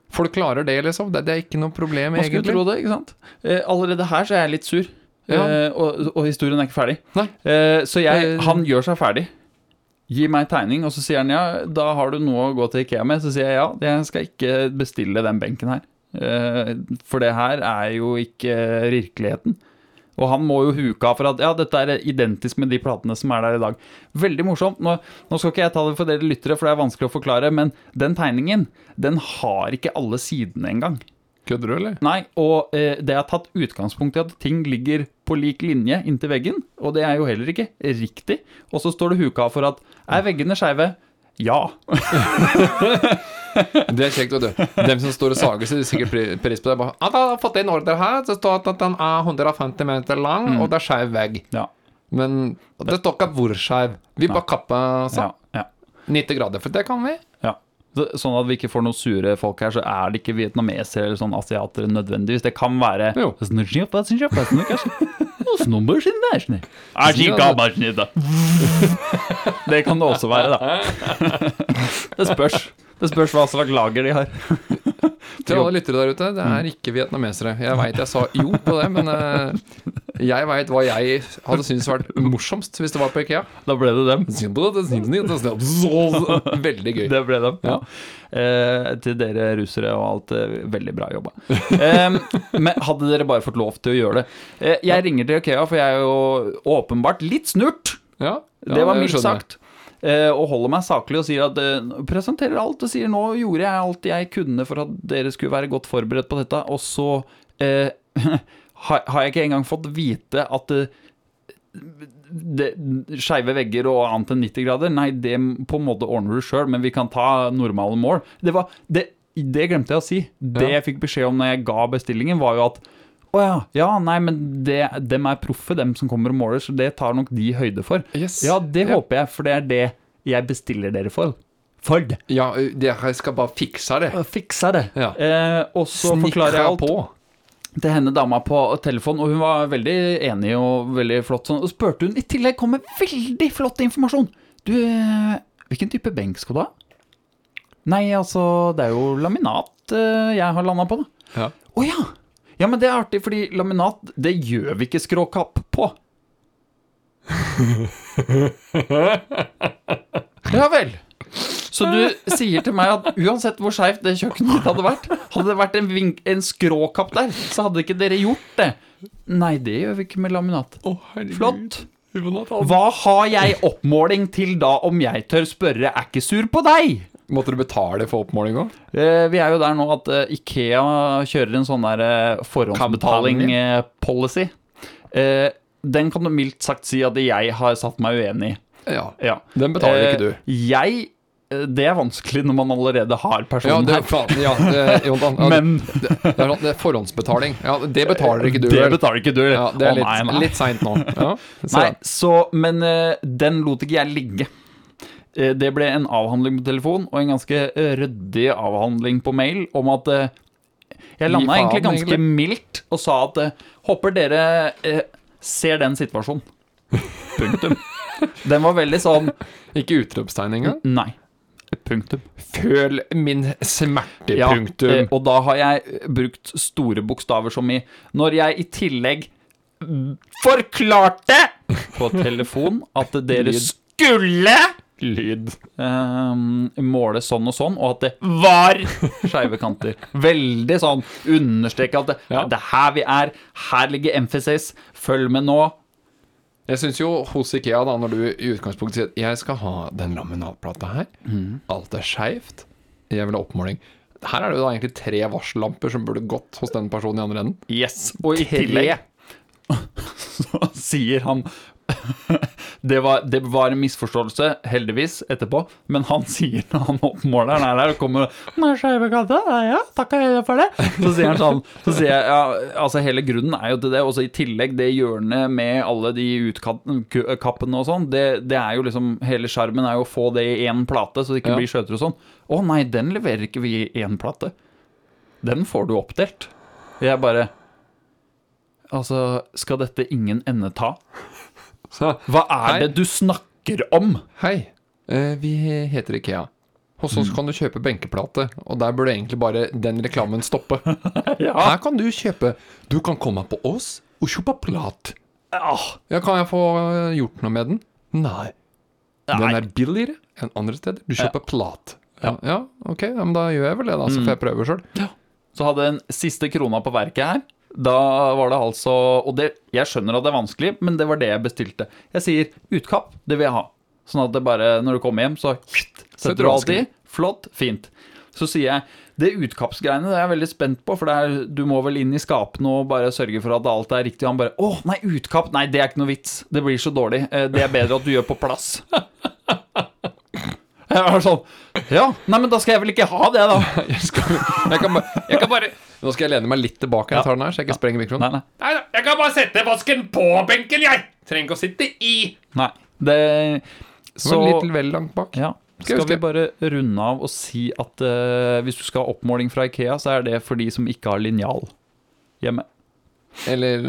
Speaker 1: Folk klarer det, liksom. Det, det er ikke noe problem,
Speaker 2: Man skulle
Speaker 1: egentlig.
Speaker 2: tro det, ikke sant? Eh, allerede her så er jeg litt sur.
Speaker 1: Ja.
Speaker 2: Eh, og, og historien er ikke ferdig.
Speaker 1: Nei.
Speaker 2: Eh, så jeg,
Speaker 1: Eh.
Speaker 2: han gjør seg ferdig. Gi meg tegning, og så sier han ja, da har du noe å gå til Ikea med. Så sier jeg ja, jeg skal ikke bestille den benken her. Eh, for det her er jo ikke virkeligheten. Og han må jo huke av for at ja, dette er identisk med de platene som er der i dag. Veldig morsomt. Nå, nå skal ikke jeg ta det for dere lyttere, for det er vanskelig å forklare, men den tegningen den har ikke alle sidene engang.
Speaker 1: Kødder du, eller?
Speaker 2: Nei, og eh, det er tatt utgangspunkt i at ting ligger på lik linje inntil veggen, og det er jo heller ikke riktig. Og så står det huka av for at er veggene skeive? Ja.
Speaker 1: Det er kjekt, vet du. Dem som står og sager, setter sikkert pri- pris på det. Bare, «Ja, da har jeg fått en ordre her. Det står at den er 150 meter lang, og det er skeiv vegg.
Speaker 2: Ja.
Speaker 1: Men det står ikke hvor skeiv. Vi bare kapper
Speaker 2: ja,
Speaker 1: sånn.
Speaker 2: ja,
Speaker 1: 90 grader, for det kan vi.
Speaker 2: ja. Så- Sånn at vi ikke får noen sure folk her, så er det ikke vietnamesere eller sånn asiatere nødvendigvis. Det kan være
Speaker 1: Jo.
Speaker 2: Det kan det også være, da. Det spørs. Det spørs hva slags lager de har.
Speaker 1: Til alle lyttere der ute, det er ikke vietnamesere. Jeg veit jeg sa jo på det, men eh, jeg veit hva jeg hadde syntes vært morsomst hvis det var på Ikea.
Speaker 2: Da ble det dem.
Speaker 1: Veldig gøy.
Speaker 2: Det ble dem. Ja. Eh, til dere russere og alt. Eh, veldig bra jobba. Eh, men hadde dere bare fått lov til å gjøre det. Eh, jeg ringer til Ikea, for jeg er jo åpenbart litt snurt.
Speaker 1: Ja, ja,
Speaker 2: det var mildt
Speaker 1: skjønner jeg.
Speaker 2: sagt. Eh, og holder meg saklig og sier at eh, presenterer alt og sier nå gjorde jeg alt jeg kunne for at dere skulle være godt forberedt på dette, og så eh, har, har jeg ikke engang fått vite at eh, det, skeive vegger og annet enn 90 grader, nei, det på en måte ordner du sjøl, men vi kan ta normale mål. Det, var, det, det glemte jeg å si. Det
Speaker 1: Ja.
Speaker 2: jeg fikk beskjed om når jeg ga bestillingen, var jo at å ja, ja, nei, men det, dem er proffe, dem som kommer og måler, så det tar nok de høyde for.
Speaker 1: Yes.
Speaker 2: Ja, det
Speaker 1: Ja.
Speaker 2: håper jeg, for det er det jeg bestiller dere for. For det.
Speaker 1: Ja, dere skal bare fikse det.
Speaker 2: Fiksa det.
Speaker 1: Ja.
Speaker 2: Eh, og så forklarer jeg alt
Speaker 1: på.
Speaker 2: til henne dama på telefon, og hun var veldig enig og veldig flott sånn. Og spurte hun i tillegg kom med veldig flott informasjon. Du, eh, hvilken type benk skal du ha? Nei, altså, det er jo laminat eh, jeg har landa på, da.
Speaker 1: Ja.
Speaker 2: Å ja. ja! Men det er artig, fordi laminat, det gjør vi ikke skråkapp på. Ja vel. Så du sier til meg at uansett hvor skeivt det kjøkkenet ditt hadde vært, hadde det vært en, vink, en skråkapp der, så hadde ikke dere gjort det. Nei, det gjør vi ikke med laminat. Flott. Hva har jeg oppmåling til da, om jeg tør spørre, er ikke sur på deg?
Speaker 1: Måtte du betale for oppmåling òg?
Speaker 2: Eh, Vi er jo der nå at eh, Ikea kjører en sånn der eh, forhåndsbetaling-policy. Eh, Den kan du mildt sagt si at jeg har satt meg uenig i.
Speaker 1: Ja.
Speaker 2: Ja.
Speaker 1: Den betaler ikke du.
Speaker 2: Eh, Jeg eh, Det er vanskelig når man allerede har
Speaker 1: Ja,
Speaker 2: personen
Speaker 1: det,
Speaker 2: her.
Speaker 1: faen, ja, det, Jonathan, ja,
Speaker 2: Men
Speaker 1: det, det, er sånn, det er Forhåndsbetaling. Ja, det betaler ikke du,
Speaker 2: det
Speaker 1: vel?
Speaker 2: betaler ikke du.
Speaker 1: Ja, det
Speaker 2: Å,
Speaker 1: er litt,
Speaker 2: nei, nei.
Speaker 1: litt seint nå. Ja, så-
Speaker 2: Nei, så, men eh, den lot ikke jeg ligge. Eh, det ble en avhandling på telefon, og en ganske eh, ryddig avhandling på mail om at eh, Jeg landa
Speaker 1: faen,
Speaker 2: egentlig ganske
Speaker 1: egentlig.
Speaker 2: mildt og sa at eh, håper dere eh, ser den situasjonen. Punktum. Den var veldig sånn
Speaker 1: Ikke utropstegn engang.
Speaker 2: Nei. Punktum.
Speaker 1: Føl min smerte,
Speaker 2: Ja, eh,
Speaker 1: punktum.
Speaker 2: og da har jeg eh, brukt store bokstaver som i Når jeg i tillegg mm, forklarte på telefon at dere
Speaker 1: Lyd.
Speaker 2: skulle
Speaker 1: Lyd.
Speaker 2: ehm, måle sånn og sånn, og at det var skeive kanter. Veldig sånn understreke at det,
Speaker 1: Ja.
Speaker 2: det er her vi er, her ligger emphasis, følg med nå.
Speaker 1: Jeg syns jo hos Ikea, da, når du i utgangspunktet sier at jeg skal ha den laminatplata her,
Speaker 2: Mm.
Speaker 1: alt er skeivt, jeg vil ha oppmåling. Her er det jo da egentlig tre varsellamper som burde gått hos den personen i andre enden.
Speaker 2: Yes, og i
Speaker 1: Tre.
Speaker 2: tillegg så sier han det var, det var en misforståelse, heldigvis, etterpå, men han sier når han oppmåleren er der og kommer og «Nei, skeive katter, ja, ja, takk for det. Så sier han sånn så sier jeg, ja, altså Hele grunnen er jo til det, og så i tillegg det hjørnet med alle de utkappene og sånn, det, det er jo liksom Hele sjarmen er jo å få det i én plate, så det ikke
Speaker 1: Ja.
Speaker 2: blir skjøter og sånn. Å nei, den leverer ikke vi i én plate. Den får du oppdelt. Jeg bare Altså, skal dette ingen ende ta?
Speaker 1: Så
Speaker 2: Hva er
Speaker 1: Hei.
Speaker 2: det du snakker om?
Speaker 1: hei, Mm. eh, vi heter Ikea. Hos oss kan du kjøpe benkeplate, og der burde egentlig bare den reklamen stoppe.
Speaker 2: Ja.
Speaker 1: Her kan du kjøpe Du kan komme på oss og kjøpe plat.
Speaker 2: Ah,
Speaker 1: Ja, kan jeg få eh, gjort noe med den? Nei. Den er billigere enn andre steder. Du kjøper plat. Ja, Mm. ja ok, ja, men da gjør jeg vel det, da, så får jeg prøve sjøl.
Speaker 2: Så hadde en siste krona på verket her. Da var det altså Og det, jeg skjønner at det er vanskelig, men det var det jeg bestilte. Jeg sier utkapp, det vil jeg ha. Sånn at det bare, når du kommer hjem, så setter du alt i. Flott, fint. Så sier jeg det utkappsgreiene det er jeg veldig spent på, for det er, du må vel inn i skapene og bare sørge for at alt er riktig. Og han bare Å, nei, utkapp! Nei, det er ikke noe vits. Det blir så dårlig. Eh, Det er bedre at du gjør på plass. Jeg var sånn Ja, nei, men da skal jeg vel ikke ha det, da.
Speaker 1: Jeg, skal, jeg, kan bare, jeg kan bare Nå skal jeg lene meg litt tilbake, jeg tar den her, så jeg ikke sprenger mikrofonen.
Speaker 2: Nei, nei.
Speaker 1: Nei, jeg kan bare sette vasken på benken, jeg! Trenger ikke å sitte i.
Speaker 2: Nei. Det
Speaker 1: Så
Speaker 2: Så
Speaker 1: litt vel langt bak.
Speaker 2: ja.
Speaker 1: Skal jeg
Speaker 2: Skal vi
Speaker 1: huske?
Speaker 2: bare runde av og si at eh, hvis du skal ha oppmåling fra Ikea, så er det for de som ikke har linjal hjemme.
Speaker 1: Eller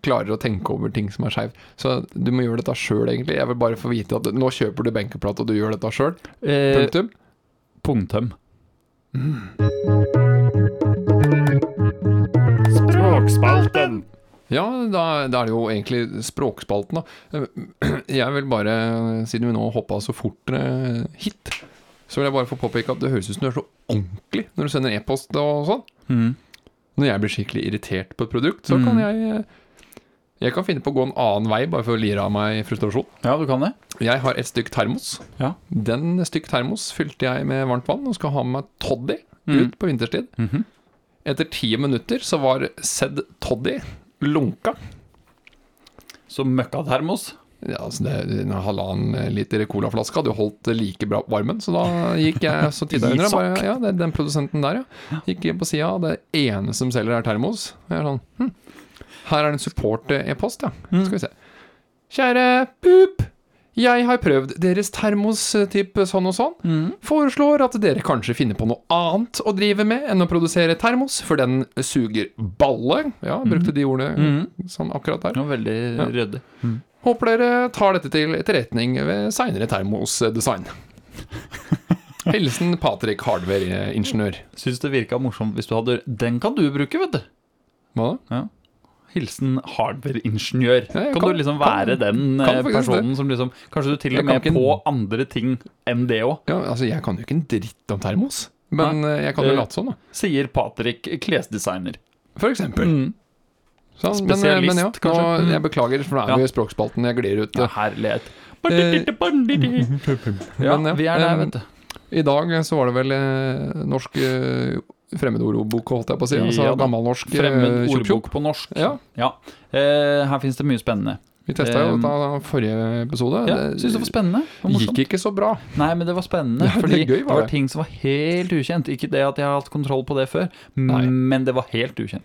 Speaker 1: klarer å tenke over ting som er skeiv. Så du må gjøre dette sjøl, egentlig. Jeg vil bare få vite at nå kjøper du benkeplate, og du gjør dette sjøl.
Speaker 2: Eh,
Speaker 1: Punktum.
Speaker 2: punktum.
Speaker 1: Ja, da, da er det jo egentlig språkspalten, da. Jeg vil bare, siden vi nå hoppa så fort eh, hit, så vil jeg bare få påpeke at det høres ut som du er så ordentlig når du sender e-post og sånn.
Speaker 2: Mm.
Speaker 1: Når jeg blir skikkelig irritert på et produkt, så kan
Speaker 2: Mm.
Speaker 1: jeg eh, Jeg kan finne på å gå en annen vei bare for å lire av meg frustrasjon.
Speaker 2: Ja, du kan det.
Speaker 1: Jeg har et stykk termos.
Speaker 2: Ja.
Speaker 1: Den stykk termos fylte jeg med varmt vann og skal ha med meg toddy
Speaker 2: Mm.
Speaker 1: ut på vinterstid.
Speaker 2: Mhm.
Speaker 1: Etter ti minutter så var sedd toddy lunka.
Speaker 2: Så møkkatermos.
Speaker 1: Ja, altså det, en halvannen liter colaflaske hadde jo holdt like bra varmen, så da gikk jeg så titta jeg under. og Bare, ja, det er den produsenten der, ja. Gikk inn på sida, og det ene som selger, er termos. Og jeg er sånn, hm, her er det en support-e-post, ja. Skal vi se. Kjære Pup. Jeg har prøvd deres termos-type sånn og sånn. Foreslår at dere kanskje finner på noe annet å drive med enn å produsere termos, for den suger balle. Ja, brukte de ordene sånn akkurat der.
Speaker 2: Det var veldig ryddig.
Speaker 1: Håper dere tar dette til etterretning ved seinere termosdesign. Hilsen Patrick Hardware-ingeniør.
Speaker 2: Syns det virka morsomt hvis du hadde Den kan du bruke, vet du.
Speaker 1: Hva da?
Speaker 2: Hilsen hardware-ingeniør.
Speaker 1: Ja, jeg
Speaker 2: kan,
Speaker 1: kan-
Speaker 2: du liksom
Speaker 1: kan-
Speaker 2: være den
Speaker 1: kan
Speaker 2: eh,
Speaker 1: faktisk
Speaker 2: personen som liksom Kanskje du til
Speaker 1: Jeg
Speaker 2: og
Speaker 1: kan
Speaker 2: med
Speaker 1: ikke-
Speaker 2: på andre ting enn det òg,
Speaker 1: Ja, altså, jeg kan jo ikke en dritt om termos, men eh, jeg kan jo
Speaker 2: Eh,
Speaker 1: late som, da.
Speaker 2: sier Patrick, klesdesigner.
Speaker 1: For eksempel.
Speaker 2: Mm.
Speaker 1: Sånn, men, eh,
Speaker 2: Spesialist,
Speaker 1: men ja, nå,
Speaker 2: kanskje? Mm.
Speaker 1: jeg beklager, for nå er vi i språkspalten, jeg glir ut.
Speaker 2: Ja, herlighet.
Speaker 1: Eh,
Speaker 2: Ja,
Speaker 1: Men ja,
Speaker 2: vi er der,
Speaker 1: eh,
Speaker 2: vet du.
Speaker 1: I dag så var det vel eh, norsk eh, fremmedordbok, holdt jeg på å si. Altså
Speaker 2: Ja da.
Speaker 1: gammelnorsk eh,
Speaker 2: Fremmed
Speaker 1: tjopp, tjopp.
Speaker 2: ordbok på norsk.
Speaker 1: Ja.
Speaker 2: Eh, her fins det mye spennende.
Speaker 1: Vi testa jo
Speaker 2: Eh,
Speaker 1: dette forrige episode.
Speaker 2: Ja, Syns du det var spennende? Det var morsomt.
Speaker 1: gikk ikke så bra.
Speaker 2: Nei, men det var spennende.
Speaker 1: Ja, det er
Speaker 2: fordi
Speaker 1: gøy,
Speaker 2: det
Speaker 1: var
Speaker 2: var
Speaker 1: det.
Speaker 2: ting som var helt ukjent. Ikke det at jeg har hatt kontroll på det før,
Speaker 1: Nei.
Speaker 2: men det var helt ukjent.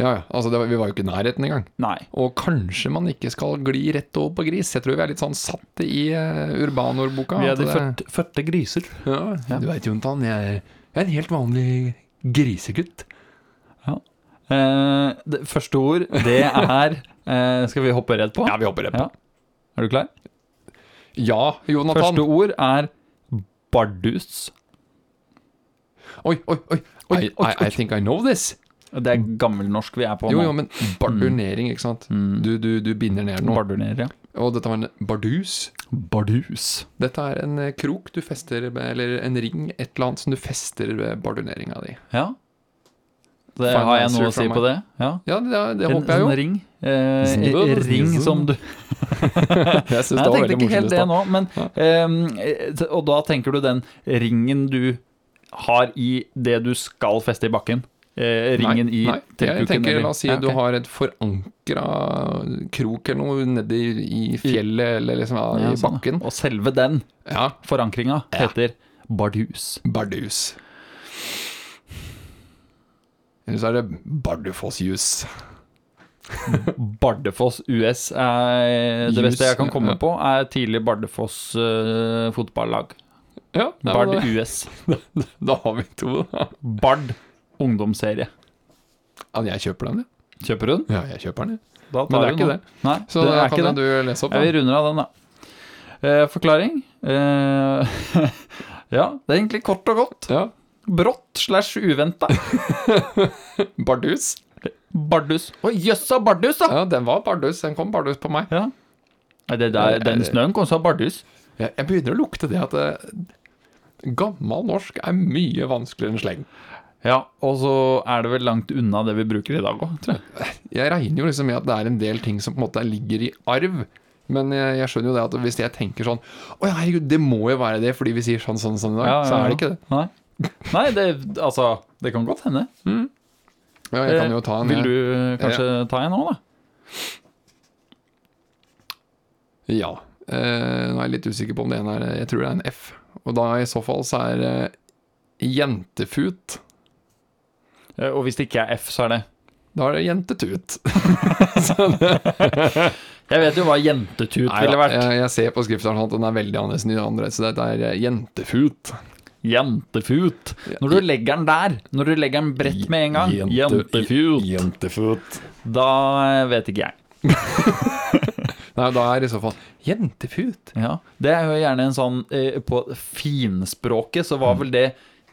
Speaker 1: Ja, ja. Altså, det var, vi var jo ikke i nærheten engang.
Speaker 2: Nei.
Speaker 1: Og kanskje man ikke skal gli rett over på gris. Jeg tror vi er litt sånn satt i uh, urbanordboka.
Speaker 2: Vi
Speaker 1: at
Speaker 2: er de
Speaker 1: det-
Speaker 2: fødte, fødte griser.
Speaker 1: Ja, Du veit, Jontan, jeg, jeg er en helt vanlig grisegutt.
Speaker 2: Eh, det første ord, det er eh, Skal vi hoppe rett på?
Speaker 1: vi hopper rett
Speaker 2: Ja. Er du klar?
Speaker 1: Ja, Jonathan.
Speaker 2: Første ord er bardus.
Speaker 1: Oi, oi, oi. I, I, I think I know this.
Speaker 2: Det er gammelnorsk vi er på
Speaker 1: Jo,
Speaker 2: nå.
Speaker 1: jo, men bardunering, ikke sant. Du, du, du binder ned noe.
Speaker 2: Bardunerer, Mm. ja.
Speaker 1: Og dette var en bardus.
Speaker 2: Bardus.
Speaker 1: Dette er en eh, krok du fester, med- eller en ring, et eller annet som du fester ved barduneringa di.
Speaker 2: Ja. Det,
Speaker 1: Final
Speaker 2: har jeg noe
Speaker 1: answer
Speaker 2: å si
Speaker 1: fra
Speaker 2: på det? Ja.
Speaker 1: Ja, det, det
Speaker 2: En
Speaker 1: håper jeg jo.
Speaker 2: sånn ring. Eh,
Speaker 1: Sånn,
Speaker 2: en
Speaker 1: sånn,
Speaker 2: ring
Speaker 1: sånn.
Speaker 2: som du
Speaker 1: Jeg synes
Speaker 2: Nei,
Speaker 1: det
Speaker 2: jeg
Speaker 1: var
Speaker 2: tenkte
Speaker 1: veldig
Speaker 2: ikke
Speaker 1: morsomt.
Speaker 2: helt
Speaker 1: i
Speaker 2: det
Speaker 1: stad.
Speaker 2: nå, men eh, t- Og da tenker du den ringen du har i det du skal feste i bakken? Eh, ringen
Speaker 1: nei,
Speaker 2: i
Speaker 1: nei, jeg
Speaker 2: teltduken,
Speaker 1: tenker,
Speaker 2: eller?
Speaker 1: La oss si
Speaker 2: Ja, ok.
Speaker 1: du har et forankra krok eller noe nedi i fjellet eller liksom ja,
Speaker 2: Ja,
Speaker 1: i
Speaker 2: sånn,
Speaker 1: bakken.
Speaker 2: ja. Og selve den
Speaker 1: Ja,
Speaker 2: forankringa heter bardus.
Speaker 1: bardus. Eller så er det bardufossjus.
Speaker 2: Bardufoss US er det
Speaker 1: Jus,
Speaker 2: beste jeg kan komme
Speaker 1: ja.
Speaker 2: på, er tidlig Bardufoss eh, fotballag.
Speaker 1: Ja, nei,
Speaker 2: Bard
Speaker 1: men
Speaker 2: US.
Speaker 1: da, da har vi to. da.
Speaker 2: Bard ungdomsserie.
Speaker 1: Ja, jeg kjøper den, jeg.
Speaker 2: Kjøper hun?
Speaker 1: Ja, jeg kjøper den, jeg.
Speaker 2: Da
Speaker 1: Men det er
Speaker 2: vi
Speaker 1: ikke
Speaker 2: den. Nei,
Speaker 1: Så da
Speaker 2: det er
Speaker 1: kan jo
Speaker 2: ikke det.
Speaker 1: du lese opp.
Speaker 2: Ja, vi
Speaker 1: Da.
Speaker 2: runder av den, da. Eh, forklaring? Eh, ja, det er egentlig kort og godt.
Speaker 1: Ja.
Speaker 2: Brått slash uventa.
Speaker 1: Bardus.
Speaker 2: Bardus. Å, jøssa bardus, da!
Speaker 1: Ja, den var bardus. Den kom bardus på meg.
Speaker 2: Ja. Nei, Det der, den snøen kom så bardus.
Speaker 1: Jeg, jeg begynner å lukte det at eh, Gammal norsk er mye vanskeligere enn sleng.
Speaker 2: Ja, og så er det vel langt unna det vi bruker i dag òg, tror jeg.
Speaker 1: Jeg regner jo liksom med at det er en del ting som på en måte ligger i arv. Men jeg, jeg skjønner jo det at hvis jeg tenker sånn Å ja, herregud, det må jo være det fordi vi sier sånn sånn sånn i dag.
Speaker 2: Ja, ja,
Speaker 1: Så
Speaker 2: ja.
Speaker 1: er det ikke det.
Speaker 2: Nei, Nei det, altså Det kan godt hende.
Speaker 1: Ja, jeg kan jo ta en
Speaker 2: Vil du eh, kanskje ta en nå, da?
Speaker 1: Ja. Eh, nå er jeg litt usikker på om det ene er Jeg tror det er en F. Og da i så fall så er det jentefut.
Speaker 2: Eh, Og hvis det ikke er F, så er det
Speaker 1: Da er det jentetut.
Speaker 2: Jeg vet jo hva jentetut
Speaker 1: Neida,
Speaker 2: ville vært.
Speaker 1: Jeg, jeg ser på skriften sånn at den er veldig annerledes enn de andre, så dette er eh, jentefut.
Speaker 2: Jentefut. Når du legger den der, når du legger den bredt med en gang,
Speaker 1: Jente-
Speaker 2: jentefut,
Speaker 1: Jentefut.
Speaker 2: da eh, vet ikke jeg.
Speaker 1: Nei, da er det i så fall jentefut.
Speaker 2: Ja, Det er jo gjerne en sånn eh, På finspråket så
Speaker 1: Mm.
Speaker 2: var vel det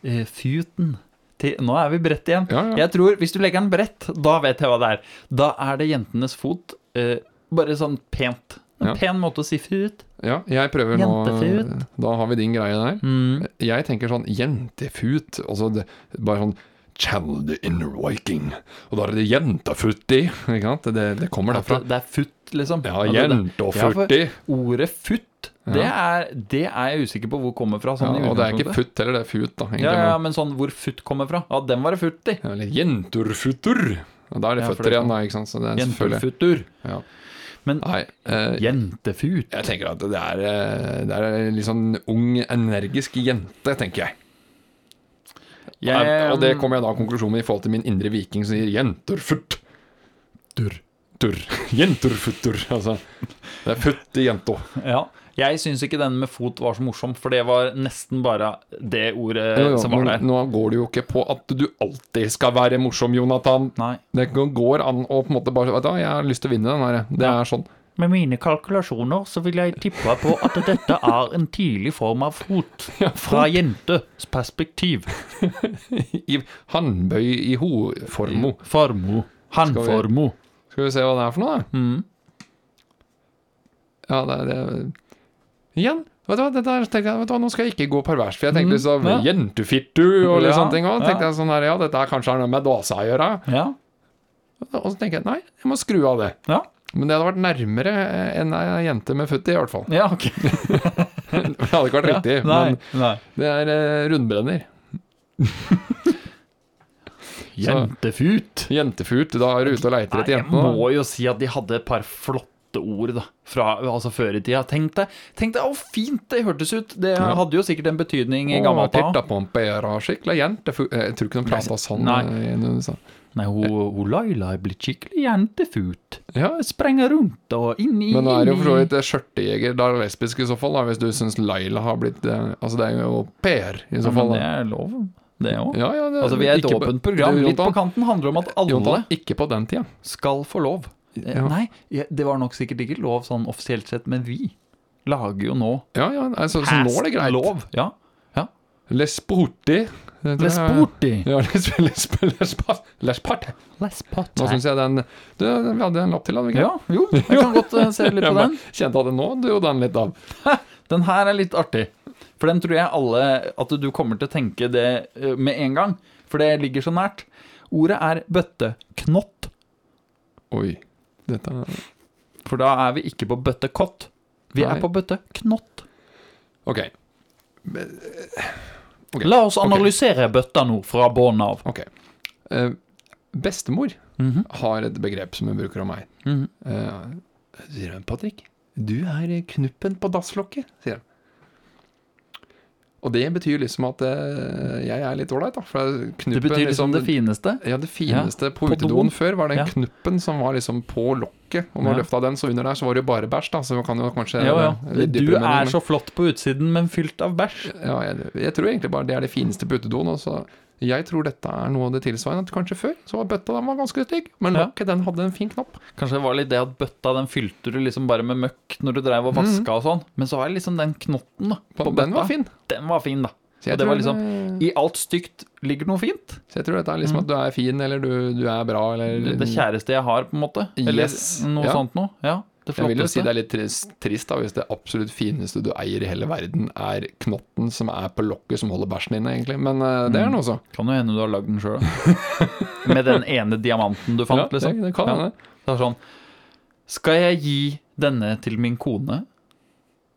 Speaker 2: eh, futen. Til, nå er vi bredt igjen.
Speaker 1: Ja, ja.
Speaker 2: Jeg tror, Hvis du legger den bredt, da vet jeg hva det er. Da er det jentenes fot. Eh, bare sånn pent. En
Speaker 1: Ja.
Speaker 2: pen måte å si fut.
Speaker 1: Ja, jeg prøver nå. eh,
Speaker 2: Jentefut.
Speaker 1: Da har vi din greie der.
Speaker 2: Mm.
Speaker 1: Jeg tenker sånn jentefut, altså det, bare sånn Channel the inner viking. Og da er det jentafutti, ikke sant? Det, det kommer
Speaker 2: At
Speaker 1: derfra.
Speaker 2: det, det er futt, liksom.
Speaker 1: Ja,
Speaker 2: At det- Ja, for
Speaker 1: jentefutti.
Speaker 2: Ordet futt, det, er, det er jeg usikker på hvor kommer fra.
Speaker 1: Ja,
Speaker 2: Sånn i
Speaker 1: og det er ikke
Speaker 2: utgangspunktet.
Speaker 1: futt heller, det er fut, da. egentlig,
Speaker 2: Ja, ja,
Speaker 1: men-
Speaker 2: men sånn hvor futt kommer fra. Ja, den var det futt i.
Speaker 1: Eller jenturfutur. Og da er det
Speaker 2: Ja, for
Speaker 1: føtter
Speaker 2: det er
Speaker 1: igjen, da, ikke sant. Så det er selvfølgelig
Speaker 2: Jentefuttur.
Speaker 1: ja.
Speaker 2: Men
Speaker 1: Nei. eh,
Speaker 2: jentefut
Speaker 1: jeg tenker at det er, eh, det er en litt sånn ung, energisk jente, tenker jeg.
Speaker 2: Jeg- Eh,
Speaker 1: og det kommer jeg da konklusjonen med i forhold til min indre viking som sier jenturfutt. Tur. Tur. Jenturfuttur. Altså, det er futt i jenta.
Speaker 2: Ja. Jeg syns ikke den med fot var så morsom, for det var nesten bare det ordet
Speaker 1: Jo, jo,
Speaker 2: som var
Speaker 1: men
Speaker 2: der.
Speaker 1: Nå går eh, det jo ikke på at du alltid skal være morsom, Jonathan.
Speaker 2: Nei.
Speaker 1: Det går an å på en måte bare Vet du hva, jeg har lyst til å vinne den her. jeg. Det
Speaker 2: Ja.
Speaker 1: er sånn.
Speaker 2: Med mine kalkulasjoner så vil jeg tippe på at dette er en tidlig form av fot, fra jentes perspektiv.
Speaker 1: I handbøy i hoformo.
Speaker 2: Formo.
Speaker 1: Handformo. Skal vi se hva det er for noe, da?
Speaker 2: Mm.
Speaker 1: Ja, det er det. Igjen. Vet du hva, det der, tenkte jeg, vet du hva, Nå skal jeg ikke gå pervers, for jeg tenkte så
Speaker 2: Mm. ja.
Speaker 1: Jentufittu og litt
Speaker 2: Ja,
Speaker 1: sånne ting òg.
Speaker 2: ja.
Speaker 1: Tenkte jeg sånn her, ja, dette er kanskje har noe med dasa å gjøre.
Speaker 2: Ja.
Speaker 1: Og så tenker jeg nei, jeg må skru av det.
Speaker 2: Ja.
Speaker 1: Men det hadde vært nærmere enn ei jente med futt i, i hvert fall.
Speaker 2: ja, ok.
Speaker 1: Det hadde ikke vært
Speaker 2: Ja.
Speaker 1: riktig.
Speaker 2: Nei.
Speaker 1: Men
Speaker 2: Nei.
Speaker 1: det er eh, rundbrenner.
Speaker 2: Jentefut.
Speaker 1: Jentefurt. Da er du ute og leiter
Speaker 2: Nei,
Speaker 1: etter
Speaker 2: jeg
Speaker 1: jentene. da.
Speaker 2: må jo si at de hadde et par flotte ord da, fra altså før i tida. Tenk deg, tenk deg, å fint det hørtes ut! Det
Speaker 1: Ja.
Speaker 2: hadde jo sikkert en betydning i
Speaker 1: Å,
Speaker 2: gammel tid.
Speaker 1: titta på en pæra skikkelig jentefut Eh, Jeg tror ikke de prata sånn.
Speaker 2: Nei.
Speaker 1: eh, i den- sånn.
Speaker 2: Nei, hun, hun Laila er blitt skikkelig jentefut.
Speaker 1: Ja,
Speaker 2: Sprenger rundt og inn i
Speaker 1: Men nå er det jo for så
Speaker 2: Mm.
Speaker 1: vidt eh, skjørtejeger. Da er det lesbisk i så fall, da, hvis du syns Laila har blitt eh, Altså, det er jo Per i så
Speaker 2: Ja, men
Speaker 1: fall.
Speaker 2: det
Speaker 1: da.
Speaker 2: er lov, det òg.
Speaker 1: Ja, ja, det,
Speaker 2: Altså, vi er et
Speaker 1: ikke på-
Speaker 2: åpent program.
Speaker 1: Du,
Speaker 2: Litt på
Speaker 1: Jonathan,
Speaker 2: kanten handler om at alle
Speaker 1: Jonathan, ikke på den tida.
Speaker 2: skal få lov. Eh,
Speaker 1: Ja.
Speaker 2: Nei, ja, det var nok sikkert ikke lov sånn offisielt sett, men vi lager jo nå
Speaker 1: Ja, ja, nei, så, så nå er det greit.
Speaker 2: lov. Ja. ja.
Speaker 1: Lesporti. Det tror jeg-
Speaker 2: Lesporti.
Speaker 1: Ja, les, les, les, lesporti. Nå syns jeg den Du, vi hadde en lapp til, hadde vi ikke?
Speaker 2: Ja, jo, jeg kan godt eh, se litt
Speaker 1: Jeg
Speaker 2: på
Speaker 1: bare
Speaker 2: den.
Speaker 1: Kjente at det nå dro den litt av.
Speaker 2: Den her er litt artig. For den tror jeg alle at du kommer til å tenke det eh, med en gang. For det ligger så nært. Ordet er bøtteknott.
Speaker 1: Oi. Dette er
Speaker 2: For da er vi ikke på bøttekott. Vi
Speaker 1: Nei.
Speaker 2: er på bøtteknott.
Speaker 1: Ok. Ok,
Speaker 2: La oss
Speaker 1: ok.
Speaker 2: analysere bøtta nå fra bånn av.
Speaker 1: ok Eh, Bestemor
Speaker 2: Mhm.
Speaker 1: har et begrep som hun bruker om meg.
Speaker 2: Mhm.
Speaker 1: Eh, sier hun, Patrick, du er knuppen på dasslokket, sier hun. Og det betyr liksom at eh, jeg er litt ålreit, da. For knuppen,
Speaker 2: Det betyr liksom det fineste.
Speaker 1: Ja, det fineste på
Speaker 2: på
Speaker 1: utedoen
Speaker 2: doen.
Speaker 1: før var den
Speaker 2: Ja.
Speaker 1: knuppen som var liksom på lokket. Og når
Speaker 2: Ja.
Speaker 1: du løfta den, så under der så var det jo bare bæsj, da. Så vi kan jo kanskje
Speaker 2: Ja, ja.
Speaker 1: det er litt
Speaker 2: Du
Speaker 1: dypere mening,
Speaker 2: er
Speaker 1: men-
Speaker 2: så flott på utsiden, men fylt av bæsj.
Speaker 1: Ja, jeg, jeg tror egentlig bare det er det fineste på utedoen. og så- Jeg tror dette er noe av det tilsvarende. at Kanskje før så var bøtta den var ganske stygg, men
Speaker 2: Ja.
Speaker 1: lokket den hadde en fin knapp.
Speaker 2: Kanskje det var litt det at bøtta den fylte du liksom bare med møkk når du dreiv og vaska og sånn. Men så er liksom den knotten da, på
Speaker 1: Den var
Speaker 2: bøtta.
Speaker 1: fin.
Speaker 2: Den var fin, da.
Speaker 1: Så jeg,
Speaker 2: Og det
Speaker 1: tror
Speaker 2: var liksom
Speaker 1: det-
Speaker 2: I alt stygt ligger noe fint.
Speaker 1: så jeg tror dette er liksom at du er fin, eller du, du er bra, eller
Speaker 2: Det kjæreste jeg har, på en måte. Eller
Speaker 1: Mm. Yes.
Speaker 2: noe
Speaker 1: Ja.
Speaker 2: sånt noe. Ja. Det
Speaker 1: Jeg vil jo si
Speaker 2: flotteste.
Speaker 1: det er litt trist, trist da, hvis det absolutt fineste du eier i hele verden, er knotten som er på lokket som holder bæsjen inne, egentlig. Men eh, det er den også.
Speaker 2: Kan jo hende du har lagd den sjøl, da. Med den ene diamanten du fant,
Speaker 1: Ja, det-
Speaker 2: liksom.
Speaker 1: det kan
Speaker 2: Ja.
Speaker 1: hende.
Speaker 2: Det er sånn Skal jeg gi denne til min kone?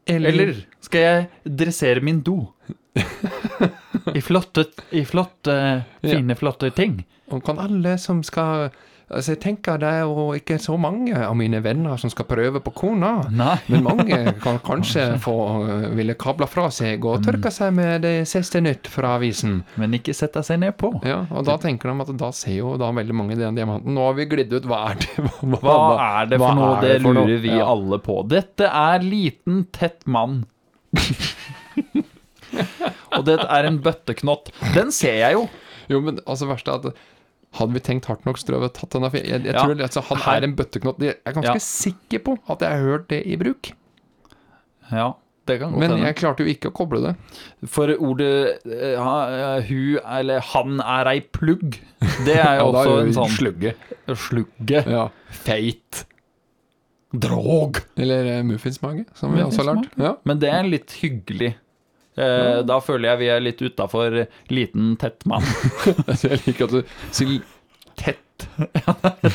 Speaker 2: Eller skal jeg dressere min do? I flotte, i flotte fine, flotte ting.
Speaker 1: Og kan alle som skal Altså, jeg tenker det er jo ikke så mange av mine venner som skal prøve på kona.
Speaker 2: Nei.
Speaker 1: Men mange kan kanskje få eh, ville kabla fra seg og tørka seg med det siste nytt fra avisen.
Speaker 2: Men ikke sette seg ned på.
Speaker 1: Ja, og da tenker de at da ser jo da veldig mange den diamanten. Nå har vi glidd ut, hva er det? Hva,
Speaker 2: Hva er det for
Speaker 1: hva
Speaker 2: noe?
Speaker 1: er
Speaker 2: Det
Speaker 1: det for noe?
Speaker 2: lurer vi
Speaker 1: Ja.
Speaker 2: alle på. Dette er liten, tett mann. Og det er en bøtteknott. Den ser jeg jo.
Speaker 1: Jo, men altså verst er at hadde vi tenkt hardt nok, så hadde vi tatt denne. for Jeg, jeg, jeg
Speaker 2: Ja.
Speaker 1: tror altså, han
Speaker 2: Her-
Speaker 1: er en bøtteknott. Jeg er
Speaker 2: Ja.
Speaker 1: ganske sikker på at jeg har hørt det i bruk.
Speaker 2: Ja, det kan godt
Speaker 1: Men
Speaker 2: hende.
Speaker 1: jeg klarte jo ikke å koble det.
Speaker 2: For ordet eh, ha- eh, hu eller han er ei plugg, det er jo
Speaker 1: Ja, da
Speaker 2: også
Speaker 1: er
Speaker 2: en
Speaker 1: det jo
Speaker 2: sånn
Speaker 1: slugge.
Speaker 2: slugge.
Speaker 1: Ja.
Speaker 2: Feit. Drog.
Speaker 1: Eller eh, muffinsmage, som vi også har lært. Ja.
Speaker 2: Men det er litt hyggelig. Eh, Da føler jeg vi er litt utafor liten, tett mann.
Speaker 1: Så jeg liker at du sier tett.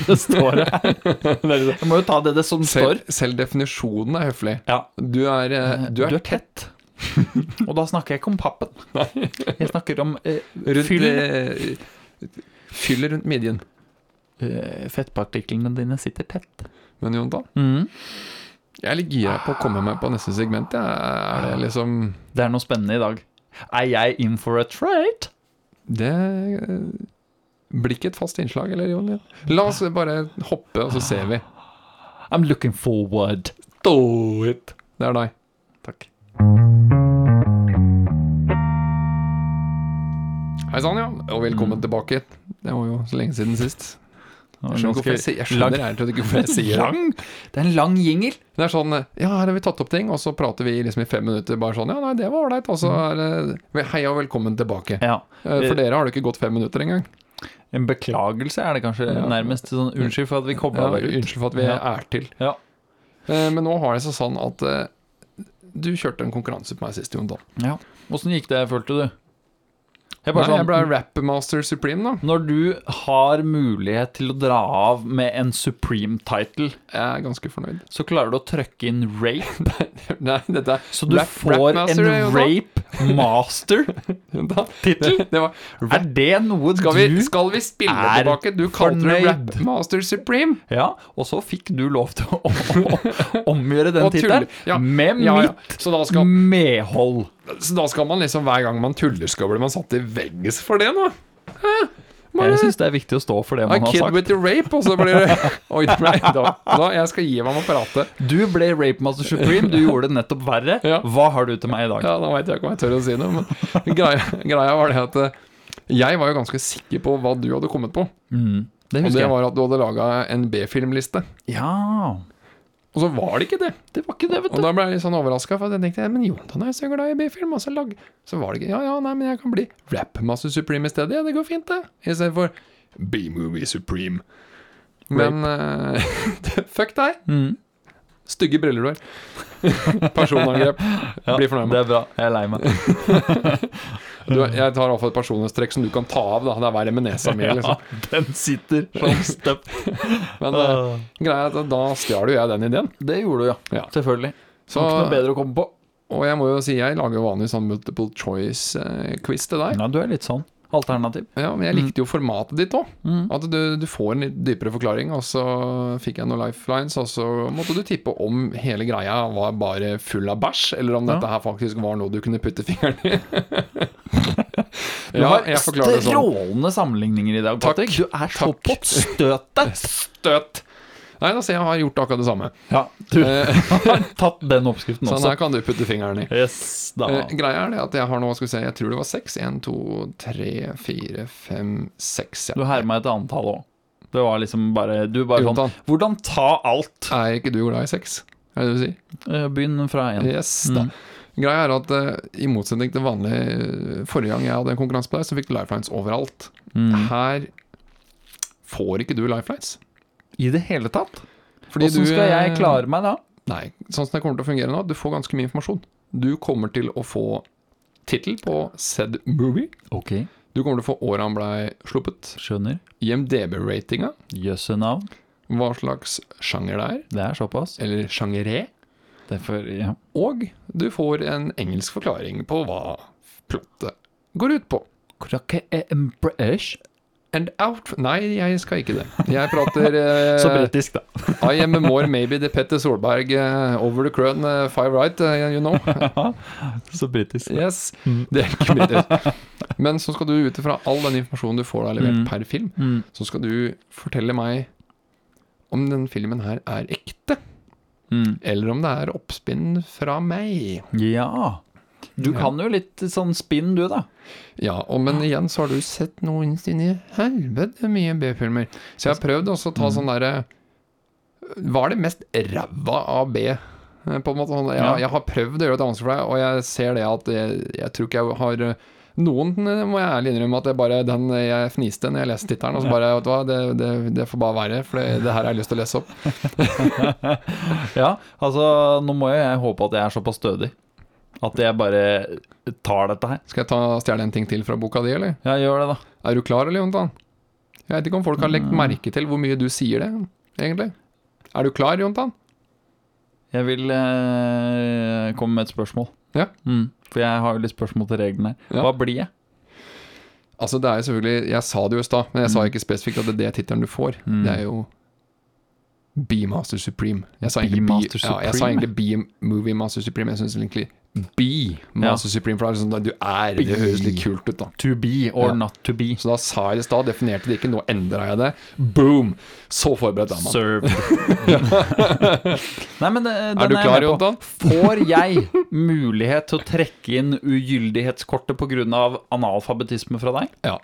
Speaker 2: Det står det her. Jeg må jo ta det det som står.
Speaker 1: Selv, selv definisjonen er høflig.
Speaker 2: Ja.
Speaker 1: Du er, eh, du er
Speaker 2: tett. Og da snakker jeg ikke om pappen. Jeg snakker om eh,
Speaker 1: rundt
Speaker 2: fyll.
Speaker 1: eh, Fyll rundt midjen.
Speaker 2: eh, fettpartiklene dine sitter tett.
Speaker 1: Men Jon, da?
Speaker 2: Mhm.
Speaker 1: Jeg er litt gira på å komme med på neste segment. jeg. Er det liksom
Speaker 2: Det er noe spennende i dag. Er jeg in for a treat?
Speaker 1: Det eh, blir ikke et fast innslag, eller, Jon? Ja. La oss bare hoppe, og så ser vi.
Speaker 2: I'm looking forward.
Speaker 1: Do it! Det er deg.
Speaker 2: Takk.
Speaker 1: Hei sann, ja. Og velkommen tilbake. Det var jo så lenge siden sist. Jeg skjønner, ikke hvorfor jeg, sier- jeg skjønner ærlig talt ikke hvorfor jeg sier det.
Speaker 2: lang. Det er en lang jingle.
Speaker 1: Det er sånn Ja, her har vi tatt opp ting, og så prater vi liksom i fem minutter bare sånn Ja, nei, det var ålreit, og så er det Hei og velkommen tilbake.
Speaker 2: Ja.
Speaker 1: Eh, For dere har det ikke gått fem minutter engang.
Speaker 2: En beklagelse er det kanskje
Speaker 1: Ja.
Speaker 2: nærmest. Sånn, unnskyld for at vi
Speaker 1: Ja,
Speaker 2: kobla deg ut.
Speaker 1: unnskyld for at vi
Speaker 2: Ja.
Speaker 1: er til.
Speaker 2: Ja.
Speaker 1: Eh, Men nå har det seg sånn at eh, du kjørte en konkurranse på meg sist, Jon Dahl.
Speaker 2: Ja. Åssen gikk det, følte du? Jeg
Speaker 1: Nei,
Speaker 2: bare
Speaker 1: jeg ble
Speaker 2: sånn,
Speaker 1: Rapmaster Supreme, da.
Speaker 2: når du har mulighet til å dra av med en supreme title,
Speaker 1: Jeg er ganske fornøyd.
Speaker 2: så klarer du å trøkke inn rape.
Speaker 1: Nei, dette er
Speaker 2: Så du
Speaker 1: Rap-
Speaker 2: får
Speaker 1: Rapmaster,
Speaker 2: en
Speaker 1: Jon Dahl.
Speaker 2: rape master.
Speaker 1: Jon Dahl.
Speaker 2: Tittel?
Speaker 1: Det var
Speaker 2: Er det noe
Speaker 1: skal vi,
Speaker 2: du
Speaker 1: skal vi spille
Speaker 2: er
Speaker 1: tilbake? Du kalte det
Speaker 2: fornøyd.
Speaker 1: Rapmaster Supreme.
Speaker 2: Ja, og så fikk du lov til å, å, å omgjøre den
Speaker 1: Og tulle.
Speaker 2: tittelen
Speaker 1: Ja,
Speaker 2: med
Speaker 1: ja, ja.
Speaker 2: mitt
Speaker 1: Så da skal
Speaker 2: medhold.
Speaker 1: Så da skal man liksom hver gang man tuller, skal bli man satt i vegges for det nå?
Speaker 2: Jeg syns det er viktig å stå for
Speaker 1: A
Speaker 2: det man har
Speaker 1: kid
Speaker 2: sagt.
Speaker 1: with a rape, og så blir det Oi, det ble da, da, Jeg skal gi meg med apparatet.
Speaker 2: Du ble Rape Master Supreme, du gjorde det nettopp verre.
Speaker 1: Ja.
Speaker 2: Hva har du til meg i dag?
Speaker 1: Ja, da veit jeg ikke om jeg tør å si noe, men greia, greia var det at eh, jeg var jo ganske sikker på hva du hadde kommet på.
Speaker 2: Mm, det
Speaker 1: Og
Speaker 2: husker
Speaker 1: det
Speaker 2: jeg.
Speaker 1: var at du hadde laga en B-filmliste.
Speaker 2: Ja,
Speaker 1: Og så var det ikke det.
Speaker 2: det var ikke det, vet
Speaker 1: Og
Speaker 2: du.
Speaker 1: da ble jeg litt sånn overraska, for jeg tenkte jeg, men Jontan er jo så glad i B-film. Og så, lag... så var det ikke Ja, ja, nei, men jeg kan bli Rap-masse Supreme i stedet. Ja, det går fint, det. Istedenfor B-movie Supreme. Men eh, fuck deg.
Speaker 2: Mm,
Speaker 1: Stygge briller du har. Personangrep.
Speaker 2: ja,
Speaker 1: Bli fornøyd
Speaker 2: Det
Speaker 1: med.
Speaker 2: er bra. Jeg er lei meg.
Speaker 1: Du, jeg tar iallfall et personlighetstrekk som du kan ta av. da Det er verre med nesa mi.
Speaker 2: Ja,
Speaker 1: Liksom.
Speaker 2: den sitter som støpt.
Speaker 1: Men eh,
Speaker 2: Ah.
Speaker 1: greia er at da stjal jo jeg den ideen.
Speaker 2: Det gjorde du, ja.
Speaker 1: Ja.
Speaker 2: Selvfølgelig. Det
Speaker 1: Så,
Speaker 2: var ikke noe bedre å komme på.
Speaker 1: og jeg må jo si jeg lager jo vanlig sånn multiple choice-quiz til deg.
Speaker 2: Ja, du er litt sånn. Alternativ.
Speaker 1: Ja, men jeg likte jo formatet ditt òg.
Speaker 2: Mm.
Speaker 1: At du, du får en litt dypere forklaring, og så fikk jeg noen lifelines, og så måtte du tippe om hele greia var bare full av bæsj, eller om
Speaker 2: Ja.
Speaker 1: dette her faktisk var noe du kunne putte fingeren i.
Speaker 2: Du
Speaker 1: ja,
Speaker 2: har
Speaker 1: jeg forklarer det sånn.
Speaker 2: strålende sammenligninger i dag,
Speaker 1: Takk.
Speaker 2: Patrick. Du er så
Speaker 1: Takk.
Speaker 2: på støtet.
Speaker 1: Støt! Nei, da ser jeg har gjort akkurat det samme.
Speaker 2: Ja, du
Speaker 1: Eh,
Speaker 2: har tatt den oppskriften
Speaker 1: sånn
Speaker 2: også.
Speaker 1: her kan du putte fingeren i.
Speaker 2: Yes, da.
Speaker 1: Eh, greia er det at jeg har nå, skal vi se, jeg tror det var seks. Én, to, tre, fire, fem, seks.
Speaker 2: Du
Speaker 1: Ja.
Speaker 2: herma et antall òg. Det var liksom bare Du bare
Speaker 1: Jontan.
Speaker 2: sånn Hvordan ta alt?
Speaker 1: Er ikke du glad i sex? Er det det du sier?
Speaker 2: Eh, Begynn fra én.
Speaker 1: Yes, da. Greia er at eh, i motsetning til vanlig eh, forrige gang jeg hadde en konkurranse på deg, så fikk du lifelines overalt.
Speaker 2: Mm.
Speaker 1: Her får ikke du lifelines.
Speaker 2: I det hele tatt?
Speaker 1: Fordi
Speaker 2: Hvordan
Speaker 1: du,
Speaker 2: skal jeg
Speaker 1: eh,
Speaker 2: klare meg da?
Speaker 1: Nei, sånn som det kommer til å fungere nå, du får ganske mye informasjon. Du kommer til å få tittel på said movie.
Speaker 2: Ok,
Speaker 1: Du kommer til å få året han blei sluppet.
Speaker 2: skjønner.
Speaker 1: IMDb-ratinga,
Speaker 2: Jøsse navn.
Speaker 1: hva slags sjanger det er,
Speaker 2: Det er såpass.
Speaker 1: eller sjangeré.
Speaker 2: Derfor, ja.
Speaker 1: Og du får en engelsk forklaring på hva plottet går ut på.
Speaker 2: Krakke eh, er en British.
Speaker 1: And out Nei, jeg skal ikke det. Jeg prater eh,
Speaker 2: Så britisk, da.
Speaker 1: I am more maybe the Petter Solberg eh, over the crøn eh, five right, eh, you know.
Speaker 2: Så britisk.
Speaker 1: Yes,
Speaker 2: Mm.
Speaker 1: det er ikke britisk. Men så skal du ut ifra all den informasjonen du får da levert per film,
Speaker 2: Mm.
Speaker 1: så skal du fortelle meg om den filmen her er ekte,
Speaker 2: Mm.
Speaker 1: eller om det er oppspinn fra meg.
Speaker 2: Ja. Du kan jo litt sånn spinn, du, da.
Speaker 1: Ja, og men igjen så har du sett noen inn i helvete mye B-filmer. Så jeg har prøvd også å ta sånn derre eh, Hva er det mest ræva av B? eh, På en måte sånn, jeg,
Speaker 2: Ja.
Speaker 1: jeg har prøvd å gjøre det vanskelig for deg, og jeg ser det at jeg, jeg tror ikke jeg har eh, noen eh, må jeg ærlig innrømme at jeg bare den eh, jeg fniste når jeg leste tittelen. Og så bare Vet du hva, det, det, det får bare være, for det, det her har jeg lyst til å lese opp.
Speaker 2: Ja, altså, nå må jo jeg håpe at jeg er såpass stødig at jeg bare tar dette her.
Speaker 1: Skal jeg ta stjele en ting til fra boka di, eller?
Speaker 2: Ja, gjør det, da.
Speaker 1: Er du klar, eller, Jontan? Jeg vet ikke om folk har lagt merke til hvor mye du sier det, egentlig. Er du klar, Jontan?
Speaker 2: Jeg vil eh, komme med et spørsmål.
Speaker 1: Ja.
Speaker 2: Mm, for jeg har jo litt spørsmål til reglene.
Speaker 1: Ja.
Speaker 2: Hva blir jeg?
Speaker 1: Altså det er jo selvfølgelig Jeg sa det jo i stad, men jeg sa ikke spesifikt at det er det tittelen du får.
Speaker 2: Mm.
Speaker 1: Det er jo B-Master Supreme. Jeg sa egentlig
Speaker 2: Beemaster
Speaker 1: B- ja, jeg sa
Speaker 2: Supreme,
Speaker 1: egentlig B-Movie Master Supreme. Jeg syns egentlig B-Master Supreme, for det er sånn at du er Det høres litt kult ut, da.
Speaker 2: To be or
Speaker 1: Ja.
Speaker 2: not to be.
Speaker 1: Så da sa jeg det i stad, definerte det ikke, nå endra jeg det. Boom! Så forberedt er man.
Speaker 2: Serve. Nei, men eh, den
Speaker 1: Er du
Speaker 2: jeg
Speaker 1: klar,
Speaker 2: med på.
Speaker 1: Jontan?
Speaker 2: Får jeg mulighet til å trekke inn ugyldighetskortet pga. analfabetisme fra deg?
Speaker 1: Ja.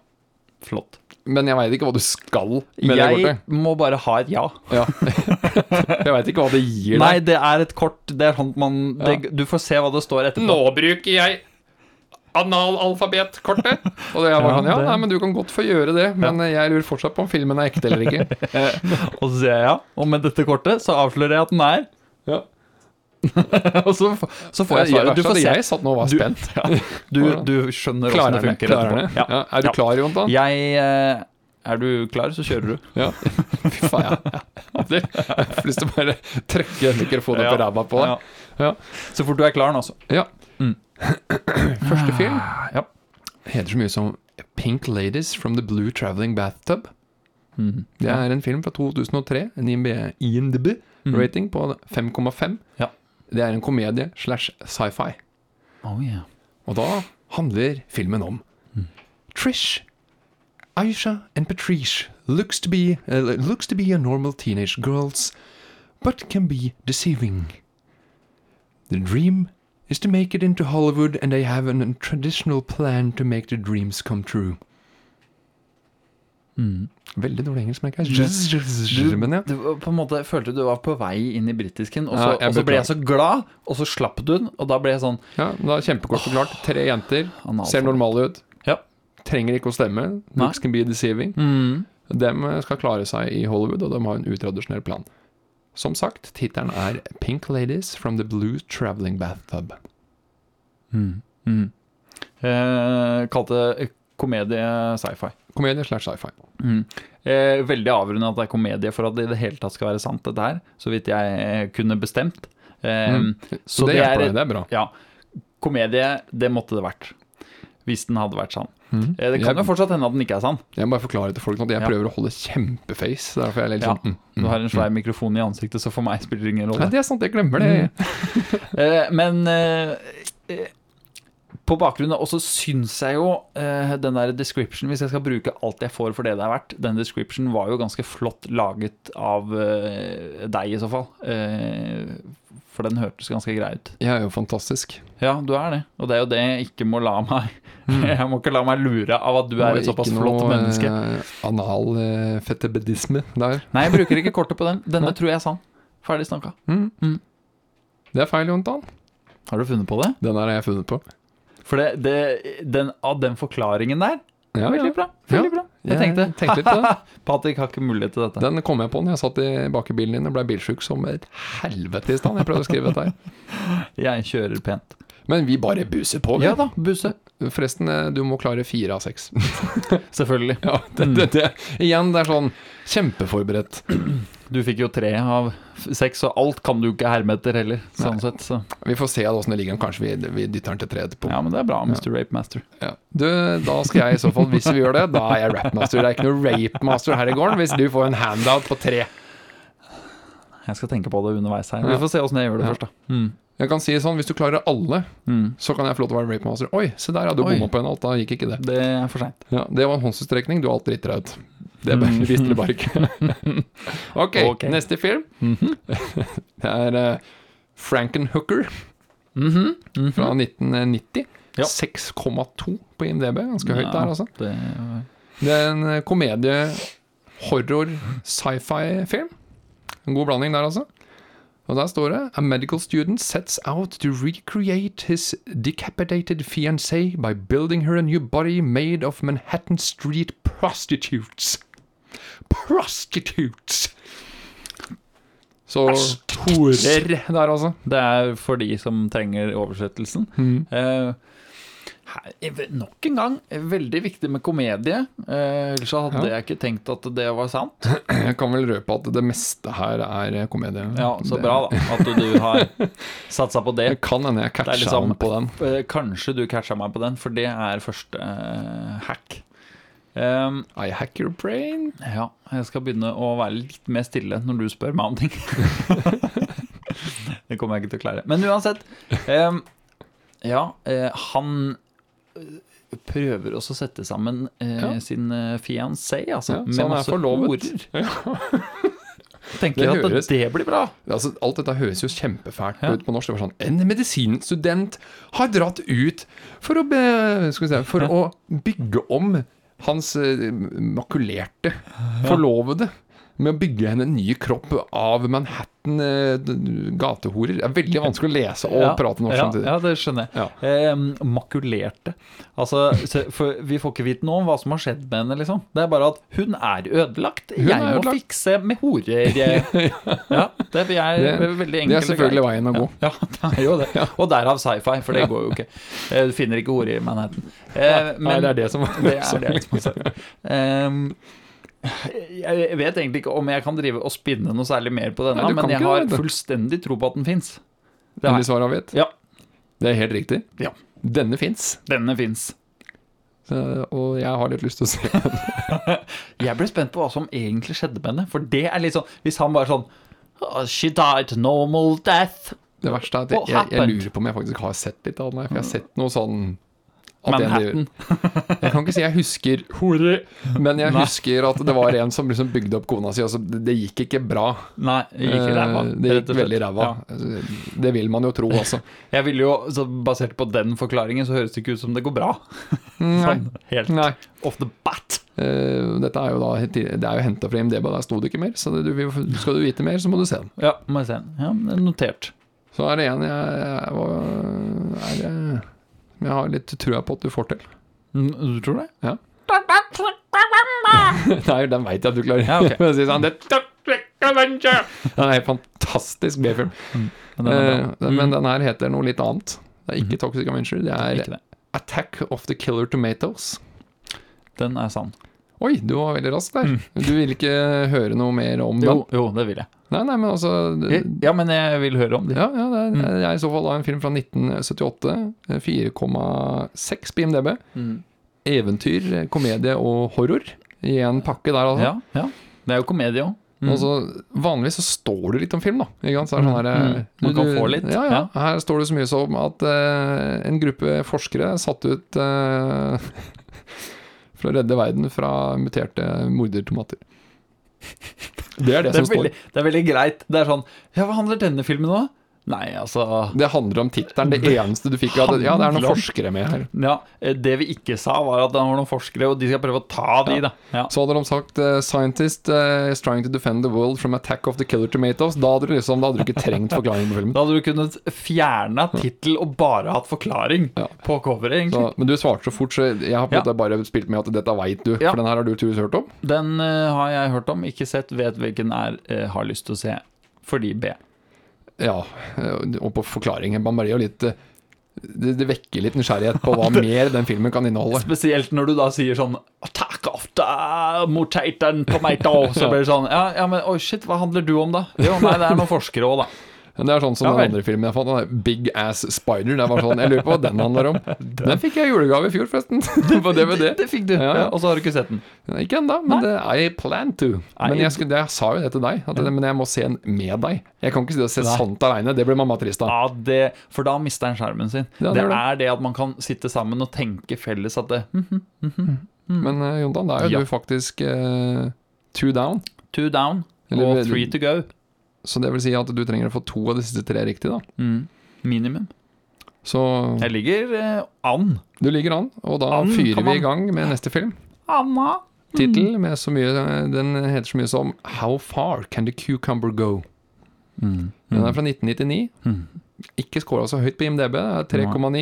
Speaker 2: Flott.
Speaker 1: Men jeg veit ikke hva du skal med det
Speaker 2: Jeg
Speaker 1: kortet.
Speaker 2: må bare ha et ja.
Speaker 1: Ja. jeg veit ikke hva det gir deg.
Speaker 2: Nei, det er et kort. Det er sånn at man det,
Speaker 1: Ja.
Speaker 2: Du får se hva det står etterpå.
Speaker 1: bruker jeg analalfabetkortet. Og jeg var
Speaker 2: Ja,
Speaker 1: sånn, ja,
Speaker 2: det-
Speaker 1: nei, men du kan godt få gjøre det, men jeg lurer fortsatt på om filmen er ekte eller ikke.
Speaker 2: Og så sier jeg ja. Og med dette kortet så avslører jeg at den er.
Speaker 1: Ja.
Speaker 2: Og så, f- så får jeg svaret. Du får se.
Speaker 1: Jeg satt nå og var
Speaker 2: Du-
Speaker 1: spent.
Speaker 2: Du, du skjønner åssen
Speaker 1: Klarer den
Speaker 2: det
Speaker 1: det?
Speaker 2: funker
Speaker 1: Klarer den
Speaker 2: etterpå.
Speaker 1: det?
Speaker 2: Ja.
Speaker 1: Ja. Er du klar, Jontan?
Speaker 2: Jeg eh, Er du klar, så kjører du.
Speaker 1: Ja. Fy faen, jeg hadde jeg får lyst til å bare trykke mikrofonen opp i
Speaker 2: Ja.
Speaker 1: ræva på deg. Ja.
Speaker 2: Så fort du er klar nå, altså.
Speaker 1: Ja.
Speaker 2: Mm.
Speaker 1: Første film
Speaker 2: Ja.
Speaker 1: heter så mye som Pink Ladies from the Blue Traveling Bathtub.
Speaker 2: Mhm.
Speaker 1: Det er en film fra 2003, en IMDb-rating på 5,5.
Speaker 2: Ja.
Speaker 1: Det er en komedie slash sci-fi.
Speaker 2: Oh, yeah.
Speaker 1: Og da handler filmen om Trish, Aisha and Patrice looks to be uh, looks to be a normal teenage girls, but can be deceiving. The dream is to make it into Hollywood, and they have an traditional plan to make the dreams come true. Veldig dårlig engelsk, merker jeg. Men ja.
Speaker 2: Du var på en måte følte du var på vei inn i britisken, og så,
Speaker 1: Ja, jeg
Speaker 2: og så ble
Speaker 1: beklager.
Speaker 2: jeg så glad, og så slapp du den, og da ble jeg sånn
Speaker 1: Ja, da er det Kjempekort forklart. Tre jenter.
Speaker 2: Analfabet.
Speaker 1: Ser normale ut.
Speaker 2: Ja.
Speaker 1: Trenger ikke å stemme.
Speaker 2: Nei.
Speaker 1: Looks can be deceiving.
Speaker 2: mm,
Speaker 1: De eh, skal klare seg i Hollywood, og de har en utradisjonell plan. Som sagt, tittelen er 'Pink Ladies from the Blue Traveling Bathtub'.
Speaker 2: mm. Eh, Kalte komedie sci-fi.
Speaker 1: Komedie slash sci-fi.
Speaker 2: Mm. Eh, veldig avrundet at det er komedie for at det i det hele tatt skal være sant, dette her. Så vidt jeg eh, kunne bestemt. Eh,
Speaker 1: Mm. Så, det, hjelper deg, det er bra.
Speaker 2: Ja. Komedie, det måtte det vært. Hvis den hadde vært sann.
Speaker 1: Mhm.
Speaker 2: Eh, det kan
Speaker 1: jeg,
Speaker 2: jo fortsatt hende at den ikke er sann.
Speaker 1: jeg må bare forklare til folk nå at jeg
Speaker 2: Ja.
Speaker 1: prøver å holde kjempeface. Derfor er jeg litt
Speaker 2: Ja.
Speaker 1: sånn mm,
Speaker 2: Du
Speaker 1: mm.
Speaker 2: har en svær mikrofon i ansiktet, så for meg spiller det ingen rolle.
Speaker 1: Nei, det er sant, jeg glemmer det.
Speaker 2: Mm. Eh, men eh, eh, på bakgrunn av Og så syns jeg jo eh, den der description, hvis jeg skal bruke alt jeg får for det det er verdt, den description var jo ganske flott laget av eh, deg, i så fall. Eh, for den hørtes ganske grei ut.
Speaker 1: Jeg er jo fantastisk.
Speaker 2: Ja, du er det. Og det er jo det jeg ikke må la meg Jeg må ikke la meg lure av at du er et
Speaker 1: Og
Speaker 2: såpass
Speaker 1: ikke
Speaker 2: flott
Speaker 1: noe,
Speaker 2: menneske.
Speaker 1: eh, anal eh, fetebedisme der.
Speaker 2: Nei, jeg bruker ikke kortet på den. Denne tror jeg er sann. Ferdig snakka.
Speaker 1: Mm.
Speaker 2: Mm.
Speaker 1: Det er feil, Jontan.
Speaker 2: Har du funnet på det?
Speaker 1: Den her har jeg funnet på.
Speaker 2: For det, det, den, av den forklaringen der
Speaker 1: Ja,
Speaker 2: Veldig
Speaker 1: ja.
Speaker 2: bra. Veldig bra. Jeg tenkte,
Speaker 1: tenkte litt på det.
Speaker 2: Patrick har ikke mulighet til dette.
Speaker 1: Den kom jeg på når jeg satt i bak i bilen din og ble bilsjuk som et helvete i stand. Jeg prøvde å skrive dette her.
Speaker 2: Jeg kjører pent.
Speaker 1: Men vi bare buser på, vi.
Speaker 2: Ja da, busse.
Speaker 1: Forresten, eh, du må klare fire av seks.
Speaker 2: Selvfølgelig.
Speaker 1: Ja, det,
Speaker 2: Mm.
Speaker 1: det, det. Igjen, det er sånn kjempeforberedt.
Speaker 2: Du fikk jo tre av f- seks, og alt kan du ikke herme etter heller. Sånn sett, så.
Speaker 1: Vi får se åssen det ligger an. Kanskje vi, vi dytter den til tre etterpå.
Speaker 2: Ja, men det er bra, Mr. Rapemaster.
Speaker 1: Ja. Du, da skal jeg i så fall, hvis vi gjør det, da er jeg rapmaster. Det er ikke noe rapemaster her i gården hvis du får en handout på tre.
Speaker 2: Jeg skal tenke på det underveis her.
Speaker 1: Ja.
Speaker 2: Vi får se åssen jeg gjør det
Speaker 1: Ja.
Speaker 2: først, da. Mm.
Speaker 1: Jeg kan si det sånn, hvis du klarer alle,
Speaker 2: Mm.
Speaker 1: så kan jeg få lov til å være rapemaster. Oi, se der, ja, du
Speaker 2: Oi.
Speaker 1: bomma på en alt, da gikk ikke det.
Speaker 2: Det er for seint.
Speaker 1: Ja, det var en håndsutstrekning, du alt driter deg ut. Det bare-
Speaker 2: Mm.
Speaker 1: visste du bare ikke. ok,
Speaker 2: Ok. Mhm.
Speaker 1: neste film. det er eh, Frankenhooker fra 1990.
Speaker 2: Mhm. Ja.
Speaker 1: 6,2 på IMDb, ganske høyt
Speaker 2: Ja.
Speaker 1: der, altså.
Speaker 2: Det
Speaker 1: Det er en eh, komedie, horror, sci-fi-film. En god blanding der, altså. Og der står det A medical student sets out to recreate his decapitated fiancée by building her a new body made of Manhattan street prostitutes. Prostitutes! Så horer der, altså.
Speaker 2: Det er for de som trenger oversettelsen. Eh, her, eh, nok en gang eh, veldig viktig med komedie. Eh, ellers så hadde
Speaker 1: Ja.
Speaker 2: jeg ikke tenkt at det var sant.
Speaker 1: Jeg kan vel røpe at det meste her er eh, komedie.
Speaker 2: Ja, Så
Speaker 1: Det-
Speaker 2: bra, da. At du har satsa på det.
Speaker 1: Det kan hende jeg catcha
Speaker 2: liksom-
Speaker 1: han på den.
Speaker 2: Eh, kanskje du catcha meg på den, for det er første eh, hack. Ehm,
Speaker 1: I hack your brain.
Speaker 2: ja, jeg skal begynne å være litt mer stille når du spør meg om ting. det kommer jeg ikke til å klare. Men uansett. ehm, ja, eh, han eh, prøver også å sette sammen eh,
Speaker 1: Ja.
Speaker 2: sin eh, fiancé, altså.
Speaker 1: Ja, så han er forlovet.
Speaker 2: Tenker jeg
Speaker 1: Det
Speaker 2: at
Speaker 1: høres-
Speaker 2: det blir bra.
Speaker 1: Altså, alt dette høres jo kjempefælt
Speaker 2: Ja.
Speaker 1: ut på norsk. Det var sånn, En medisinstudent har dratt ut for å, be, skal vi se, for å bygge om hans eh, makulerte forlovede. Med å bygge henne en ny kropp av Manhattan eh, d- d- gatehorer. Det er veldig vanskelig å lese og
Speaker 2: Ja,
Speaker 1: prate norsk
Speaker 2: ja,
Speaker 1: samtidig.
Speaker 2: Ja, det skjønner jeg. Eh, makulerte. Altså, se- for vi får ikke vite noe om hva som har skjedd med henne, liksom. Det er bare at hun er ødelagt.
Speaker 1: Hun
Speaker 2: jeg
Speaker 1: er
Speaker 2: må
Speaker 1: ødelagt.
Speaker 2: fikse med horer. ja, det
Speaker 1: Det-
Speaker 2: er
Speaker 1: Det
Speaker 2: veldig
Speaker 1: er
Speaker 2: enkelt. og greit.
Speaker 1: selvfølgelig veien å gå.
Speaker 2: Ja, det er jo det. Og derav sci-fi, for det går jo ikke. Eh, Du finner ikke ordet i Manhattan. Eh,
Speaker 1: Nei, det er det som var
Speaker 2: det er det som er saken. Ehm, jeg vet egentlig ikke om jeg kan drive og spinne noe særlig mer på denne,
Speaker 1: Nei, du kan
Speaker 2: men jeg
Speaker 1: ikke
Speaker 2: har
Speaker 1: det, vet du.
Speaker 2: fullstendig tro på at den fins. Det har
Speaker 1: Endelig
Speaker 2: jeg.
Speaker 1: svar avgitt.
Speaker 2: Ja,
Speaker 1: Det er helt riktig.
Speaker 2: Ja.
Speaker 1: Denne fins,
Speaker 2: denne fins.
Speaker 1: og jeg har litt lyst til å se
Speaker 2: Jeg ble spent på hva som egentlig skjedde med henne, for det er litt sånn Hvis han bare sånn «Oh, She died normal death.
Speaker 1: Det verste er at jeg,
Speaker 2: What
Speaker 1: jeg, jeg
Speaker 2: happened?
Speaker 1: lurer på om jeg faktisk har sett litt av den her, for jeg har sett noe sånn at en-
Speaker 2: Manhattan.
Speaker 1: Jeg kan ikke si jeg husker hore, men jeg husker at det var en som liksom bygde opp kona si, og så det det gikk ikke bra.
Speaker 2: Nei, det gikk i ræva.
Speaker 1: Eh, Det gikk
Speaker 2: rett og slett.
Speaker 1: veldig ræva.
Speaker 2: Ja.
Speaker 1: Det vil man jo tro, altså.
Speaker 2: Jeg ville jo, så Basert på den forklaringen så høres det ikke ut som det går bra. Sånn, helt
Speaker 1: Nei.
Speaker 2: off the bat.
Speaker 1: Eh, Dette er jo da Det er jo henta fra IMDb, og der sto det ikke mer, så det, du, vil- skal du vite mer, så må du se den.
Speaker 2: Ja, må jeg se den. Ja, men notert.
Speaker 1: Så er det en jeg, jeg, var- er det, jeg har litt trua på at du får til.
Speaker 2: Mm, Du tror det?
Speaker 1: Nei, den veit jeg at du klarer.
Speaker 2: Ja, ok.
Speaker 1: For å si sånn, det Den er en fantastisk B-film.
Speaker 2: Men den er bra. Mm. Mhm.
Speaker 1: Eh, den- Men den her heter noe litt annet. Det er ikke Toxic Avenger. Det er
Speaker 2: Ikke det.
Speaker 1: 'Attack of the Killer Tomatoes'.
Speaker 2: Den er sann.
Speaker 1: Oi, du var veldig rask der. Du vil ikke høre noe mer om den?
Speaker 2: Mm. Jo, jo, det vil jeg.
Speaker 1: Nei, nei, men altså
Speaker 2: Ja, men jeg Mm. vil høre om de.
Speaker 1: Ja, ja det er, det er i så fall da en film fra eh, 1978. 4,6 på IMDb.
Speaker 2: Mm.
Speaker 1: Eventyr, komedie og horror i en pakke der, altså.
Speaker 2: Ja, ja. Det er jo komedie òg.
Speaker 1: Og så, vanligvis så står det litt om film, da. Ikke sant? Så er det sånn her,
Speaker 2: Mm, mm. Man
Speaker 1: du- du-
Speaker 2: kan få litt,
Speaker 1: Ja, ja.
Speaker 2: ja.
Speaker 1: Her står det så mye som at eh, en gruppe forskere satt ut eh, for å redde verden fra muterte mordertomater. Det er det,
Speaker 2: Det, er
Speaker 1: som
Speaker 2: veldig- det er veldig greit. Det er sånn Ja, hva handler denne filmen om? da? Nei, altså
Speaker 1: Det handler om tittelen. Det eneste du fikk av det. Ja, det er noen forskere med her.
Speaker 2: ja, eh, Det vi ikke sa, var at det var noen forskere, og de skal prøve å ta de, da. Ja.
Speaker 1: Så hadde de sagt eh, 'Scientist eh, is trying to defend the world from attack of the killer tomatoes'. Da hadde du liksom, da hadde du ikke trengt forklaringen på filmen.
Speaker 2: Da hadde du kunnet fjerne tittel og bare hatt forklaring
Speaker 1: Ja.
Speaker 2: på coveret, egentlig.
Speaker 1: Så, men du svarte så fort, så jeg har på en
Speaker 2: Ja.
Speaker 1: måte bare spilt med at 'dette veit du'.
Speaker 2: Ja.
Speaker 1: For den her har du tydeligvis hørt om.
Speaker 2: Den eh, har jeg hørt om, ikke sett, vet hvilken er, eh, har lyst til å se. Fordi B.
Speaker 1: Ja, eh, og på forklaringen. Man blir jo litt eh, det, det vekker litt nysgjerrighet på hva mer den filmen kan inneholde.
Speaker 2: Spesielt når du da sier sånn Attack of the mutated tomato Så blir det sånn, ja, ja men oi shit, hva handler du om da? Jo, nei, det er noen forskere også da
Speaker 1: Men det er sånn som
Speaker 2: Ja,
Speaker 1: den
Speaker 2: vel.
Speaker 1: andre filmen jeg fant, den der Big Ass Spider. Det var sånn, Jeg lurer på hva den handler om. Den fikk jeg i julegave i fjor, forresten. På DVD.
Speaker 2: Det fikk du,
Speaker 1: Ja, ja.
Speaker 2: og så har du ikke sett den
Speaker 1: Ikke ennå, men det, I plan to. Men
Speaker 2: I-
Speaker 1: jeg, skulle, jeg sa jo det til deg, at det, men jeg må se den med deg. Jeg kan ikke si det å se
Speaker 2: Nei.
Speaker 1: sånt aleine. Det blir mamma trist av.
Speaker 2: Ja, det, for da mister den skjermen sin
Speaker 1: Ja, det
Speaker 2: Det
Speaker 1: gjør det.
Speaker 2: er det at man kan sitte sammen og tenke felles at det hm, hm,
Speaker 1: Men uh, Jontan, det er jo
Speaker 2: Ja.
Speaker 1: du faktisk eh, two down.
Speaker 2: Two down
Speaker 1: Eller-
Speaker 2: og three to go
Speaker 1: Så det vil si at du trenger å få to av de siste tre riktig, da.
Speaker 2: mm. Minimum
Speaker 1: Så
Speaker 2: Jeg ligger eh, an
Speaker 1: du ligger an, og da
Speaker 2: An, Mm.
Speaker 1: fyrer vi
Speaker 2: kan man-
Speaker 1: i gang med neste film.
Speaker 2: Anna
Speaker 1: Tittel med så mye Den heter så mye som How Far Can The Cucumber Go?
Speaker 2: mm.
Speaker 1: Den er fra 1999.
Speaker 2: Mm.
Speaker 1: Ikke scora så høyt på IMDb. Det er 3,9.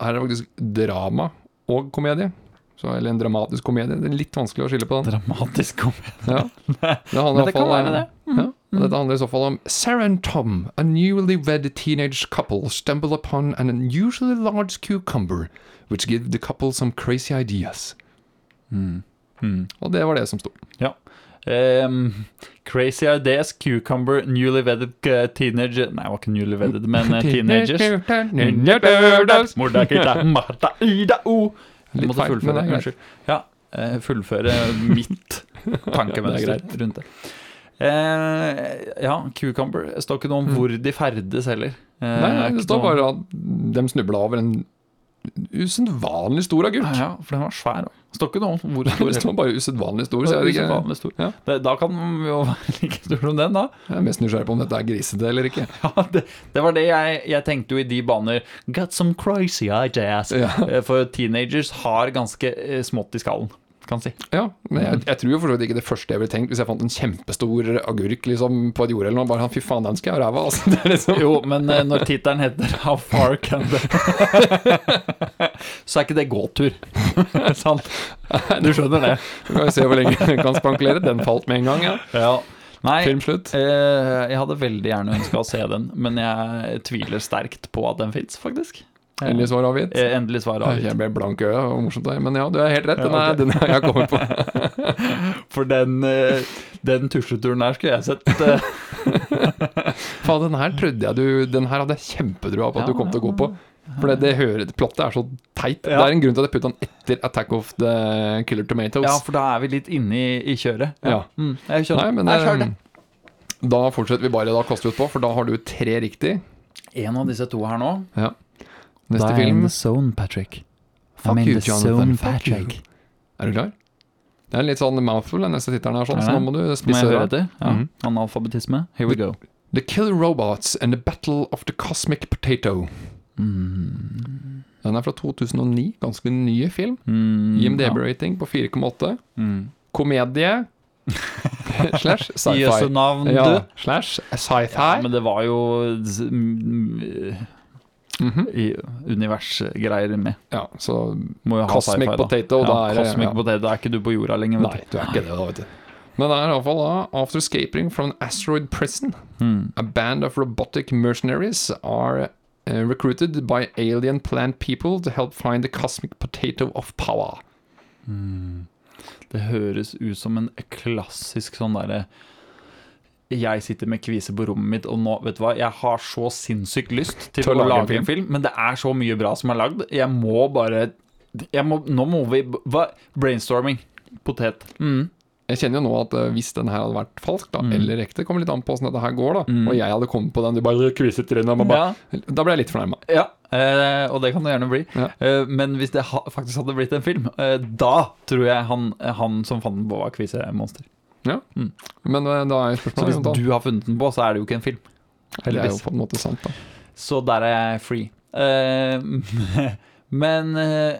Speaker 1: Her er det faktisk drama og komedie. Så, eller en dramatisk komedie. Det er litt vanskelig å skille på den.
Speaker 2: Dramatisk komedie
Speaker 1: Ja. Det handler
Speaker 2: Men det
Speaker 1: i hvert
Speaker 2: kan
Speaker 1: fall-
Speaker 2: være det Mm.
Speaker 1: Ja. og Dette handler i så fall om Sarah and Tom, a newlywed teenage couple, stumble upon an unusually large cucumber, which give the couple some crazy ideas.
Speaker 2: Mm.
Speaker 1: Og det var det som sto.
Speaker 2: Ja. Ehm, crazy Ideas, Cucumber, Newly Wedded eh, Teenager Nei, det var ikke Newly Wedded, men eh, Teenagers.
Speaker 1: Teenagers.
Speaker 2: Morda, kita, mata, ida, o. Jeg
Speaker 1: Litt
Speaker 2: måtte
Speaker 1: feil, men
Speaker 2: fullføre.
Speaker 1: det er greit.
Speaker 2: Unnskyld. Ja, eh, fullføre mitt tankemønster
Speaker 1: Ja, det
Speaker 2: rundt det. Eh, ja, Cucumber. Det står ikke noe om hvor de ferdes heller. Eh,
Speaker 1: Mm. Nei, nei,
Speaker 2: ikke
Speaker 1: det står
Speaker 2: noe-
Speaker 1: bare at de snubla over en usedvanlig stor agurk.
Speaker 2: Ja, for den var svær òg. Det står ikke noe om hvor stor
Speaker 1: Det
Speaker 2: den
Speaker 1: står bare usedvanlig stor, så jeg vet ikke.
Speaker 2: Usedvanlig stor.
Speaker 1: Ja.
Speaker 2: Det- Da kan vi jo være like stor som den, da.
Speaker 1: Jeg er mest nysgjerrig på om dette er grisete eller ikke.
Speaker 2: Ja, det, det var det jeg, jeg tenkte jo i de baner. Got some crazy ideas.
Speaker 1: Ja.
Speaker 2: Eh, For teenagers har ganske eh, smått i skallen, kan si.
Speaker 1: Ja, men jeg, jeg tror jo for så vidt ikke det første jeg ville tenkt hvis jeg fant en kjempestor agurk liksom, på et jord eller noe. Bare fy faen, den skal jeg ha i ræva, altså. Det er liksom
Speaker 2: Jo, men eh, når tittelen heter How far can the Så er ikke det gåtur. Sant? Du skjønner det.
Speaker 1: Vi kan jo se hvor lenge den kan spankulere. Den falt med en gang, ja.
Speaker 2: Ja. Nei,
Speaker 1: Film slutt.
Speaker 2: eh, jeg hadde veldig gjerne ønska å se den, men jeg tviler sterkt på at den fins, faktisk. Eh,
Speaker 1: Endelig svar avgitt.
Speaker 2: eh, endelig svar avgitt.
Speaker 1: Jeg ble blank i øyet, og morsomt det er. Men ja, du er helt rett. Den er,
Speaker 2: ok.
Speaker 1: den er jeg kommer på.
Speaker 2: For den, eh, den tusjeturen her skulle jeg sett. eh,
Speaker 1: Faen, den her trodde jeg du Den her hadde jeg kjempetrua på at
Speaker 2: Ja,
Speaker 1: du kom til å gå
Speaker 2: ja,
Speaker 1: på. For det, det hører, plottet er så teit.
Speaker 2: Ja.
Speaker 1: Det er en grunn til at jeg putta den etter 'Attack of the Killer Tomatoes'.
Speaker 2: Ja, for da er vi litt inne i, i kjøret.
Speaker 1: Ja.
Speaker 2: Mm, jeg skjønner.
Speaker 1: Nei, men
Speaker 2: jeg skjønner
Speaker 1: eh, da fortsetter vi bare. Da kaster vi ut på, for da har du tre riktig.
Speaker 2: det. En av disse to her nå
Speaker 1: Ja. Neste film
Speaker 2: zone, Patrick.
Speaker 1: Fuck you, Jonathan. Fuck you. Er du klar? Det er litt sånn mouthful, den neste tittelen her, sånn,
Speaker 2: Er
Speaker 1: så nå
Speaker 2: det?
Speaker 1: må du
Speaker 2: Må
Speaker 1: spisse
Speaker 2: jeg høre
Speaker 1: øret.
Speaker 2: etter? Ja.
Speaker 1: Mhm.
Speaker 2: Analfabetisme. Here we go.
Speaker 1: The Killer Robots and the Battle of the Cosmic Potato. Den er fra 2009. Ganske ny film.
Speaker 2: Mm,
Speaker 1: IMDb-rating på 4,8.
Speaker 2: ja. Mm.
Speaker 1: komedie slash
Speaker 2: Gi oss et
Speaker 1: sci-fi.
Speaker 2: navn, du.
Speaker 1: Ja, slash
Speaker 2: Ja,
Speaker 1: sci-fi.
Speaker 2: men det var jo z- mm,
Speaker 1: Mhm.
Speaker 2: i- universgreier med.
Speaker 1: Ja, så
Speaker 2: Må jo ha
Speaker 1: Cosmic
Speaker 2: sci-fi, da.
Speaker 1: Potato,
Speaker 2: Ja,
Speaker 1: da er det-
Speaker 2: Cosmic
Speaker 1: ja.
Speaker 2: Potato, da er ikke du på jorda lenger, vet
Speaker 1: Nei, du er ikke det, da, vet du. Men det er iallfall da After escaping from an asteroid prison,
Speaker 2: du. Mm.
Speaker 1: a band of robotic mercenaries are uh, recruited by alien plant people to help find the cosmic potato of power.
Speaker 2: Det høres ut som en klassisk sånn derre Jeg sitter med kvise på rommet mitt, og nå, vet du hva, jeg har så sinnssykt lyst til å, lage en film, men det er så mye bra som er lagd. Jeg må bare jeg må, Nå må vi hva? Brainstorming. Potet. Mm.
Speaker 1: Jeg kjenner jo nå at eh, hvis den her hadde vært falsk, da, eller ekte, kommer litt an på åssen dette her går, da, og jeg hadde kommet på den, du bare kviset trynet, og bare,
Speaker 2: Ja,
Speaker 1: da ble jeg litt fornærma.
Speaker 2: ja. Eh, og det kan det gjerne bli.
Speaker 1: Ja.
Speaker 2: Eh, men hvis det ha, faktisk hadde blitt en film, eh, da tror jeg han, han som fant den på, var kvisemonster.
Speaker 1: Ja.
Speaker 2: Mm.
Speaker 1: Men eh, da er
Speaker 2: Så hvis
Speaker 1: spørsmålet
Speaker 2: du har funnet den på, så er det jo ikke en film.
Speaker 1: Eller det er jo
Speaker 2: Heldigvis.
Speaker 1: på en måte sant, da.
Speaker 2: Så der er jeg free. Eh, men eh,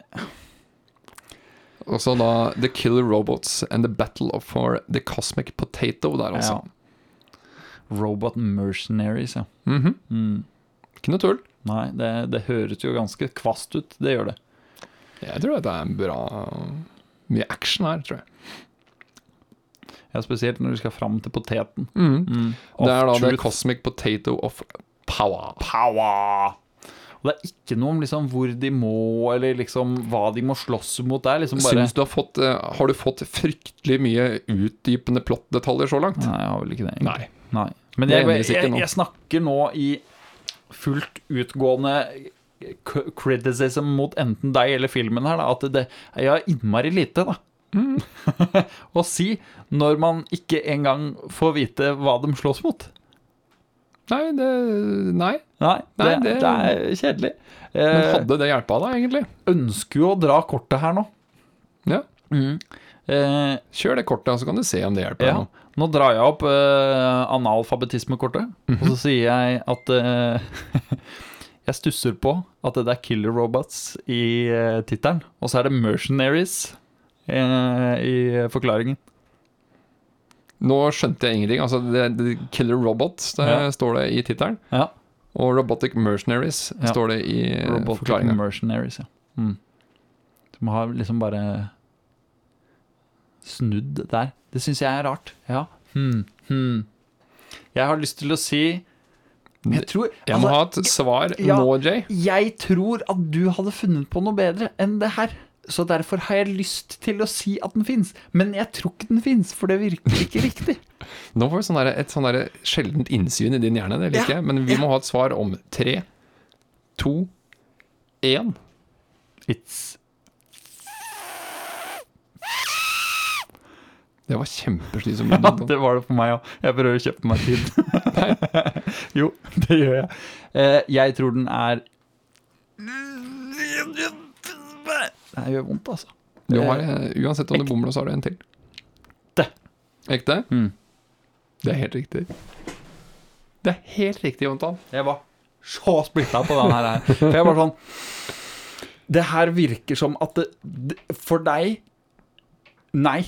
Speaker 1: Og så da The Killer Robots and The Battle of for The Cosmic Potato der, altså.
Speaker 2: ja. Robot mercenaries, ja.
Speaker 1: Mhm.
Speaker 2: Mm.
Speaker 1: Ikke noe tull.
Speaker 2: Nei, det, det høres jo ganske kvast ut. Det gjør det.
Speaker 1: Jeg tror dette er en bra Mye action her, tror jeg.
Speaker 2: Ja, Spesielt når du skal fram til poteten.
Speaker 1: Mhm.
Speaker 2: Mm.
Speaker 1: Det er da The
Speaker 2: Off-truth.
Speaker 1: Cosmic Potato of Power.
Speaker 2: Power! Og det er ikke noe om liksom hvor de må, eller liksom hva de må slåss mot. Det er liksom bare
Speaker 1: Syns du har fått eh, Har du fått fryktelig mye utdypende plottdetaljer så langt?
Speaker 2: Nei, jeg har vel ikke det. egentlig.
Speaker 1: Nei.
Speaker 2: Nei. Men
Speaker 1: Det
Speaker 2: jeg, jeg,
Speaker 1: endres ikke
Speaker 2: jeg,
Speaker 1: nå.
Speaker 2: snakker nå i fullt utgående k- criticism mot enten deg eller filmen her, da, at det, jeg har innmari lite da. å si når man ikke engang får vite hva de slåss mot.
Speaker 1: Nei, det Nei.
Speaker 2: Nei, det,
Speaker 1: Nei,
Speaker 2: det...
Speaker 1: det-
Speaker 2: er kjedelig.
Speaker 1: Men
Speaker 2: Eh,
Speaker 1: hadde det hjulpet da, egentlig?
Speaker 2: ønsker jo å dra kortet her nå.
Speaker 1: Ja.
Speaker 2: Mm. Eh,
Speaker 1: Kjør det kortet, så kan du se om det hjelper.
Speaker 2: ja.
Speaker 1: nå.
Speaker 2: Nå drar jeg opp eh, analfabetismekortet, og så sier jeg at eh, Jeg stusser på at det er Killer Robots i eh, tittelen, og så er det Mercenaries eh, i forklaringen.
Speaker 1: Nå skjønte jeg ingenting. Altså, det, det Killer Robots det
Speaker 2: Ja.
Speaker 1: står det i tittelen.
Speaker 2: Ja.
Speaker 1: Og Robotic Mercenaries
Speaker 2: Ja.
Speaker 1: står det i eh,
Speaker 2: Robotic
Speaker 1: forklaringa.
Speaker 2: Mercenaries, ja. Mm. Som har liksom bare snudd der. Det syns jeg er rart. Ja. Hmm. Hmm. Jeg har lyst til å si Jeg tror
Speaker 1: Jeg må
Speaker 2: altså,
Speaker 1: ha et svar
Speaker 2: Ja.
Speaker 1: nå, Jay.
Speaker 2: Jeg tror at du hadde funnet på noe bedre enn det her. Så derfor har jeg lyst til å si at den fins, men jeg tror ikke den fins, for det virker ikke riktig.
Speaker 1: Nå får vi sånn derre- et sånn derre sjeldent innsyn i din hjerne, det liker
Speaker 2: Ja,
Speaker 1: jeg. Men vi
Speaker 2: ja.
Speaker 1: må ha et svar om tre, to, én.
Speaker 2: It's
Speaker 1: Det var kjempeslitsomt.
Speaker 2: Ja, det var det for meg òg. Jeg prøver å kjøpe meg tid. jo, det gjør jeg. Eh, jeg tror den er Det gjør vondt, altså.
Speaker 1: Du har, eh, uansett om du bommer, så har du en til.
Speaker 2: Ekte.
Speaker 1: Ekte?
Speaker 2: Mm.
Speaker 1: Det er helt riktig. Det er helt riktig, Jontan.
Speaker 2: Jeg var så splitta på den her. For jeg var sånn Det her virker som at det, det, For deg Nei.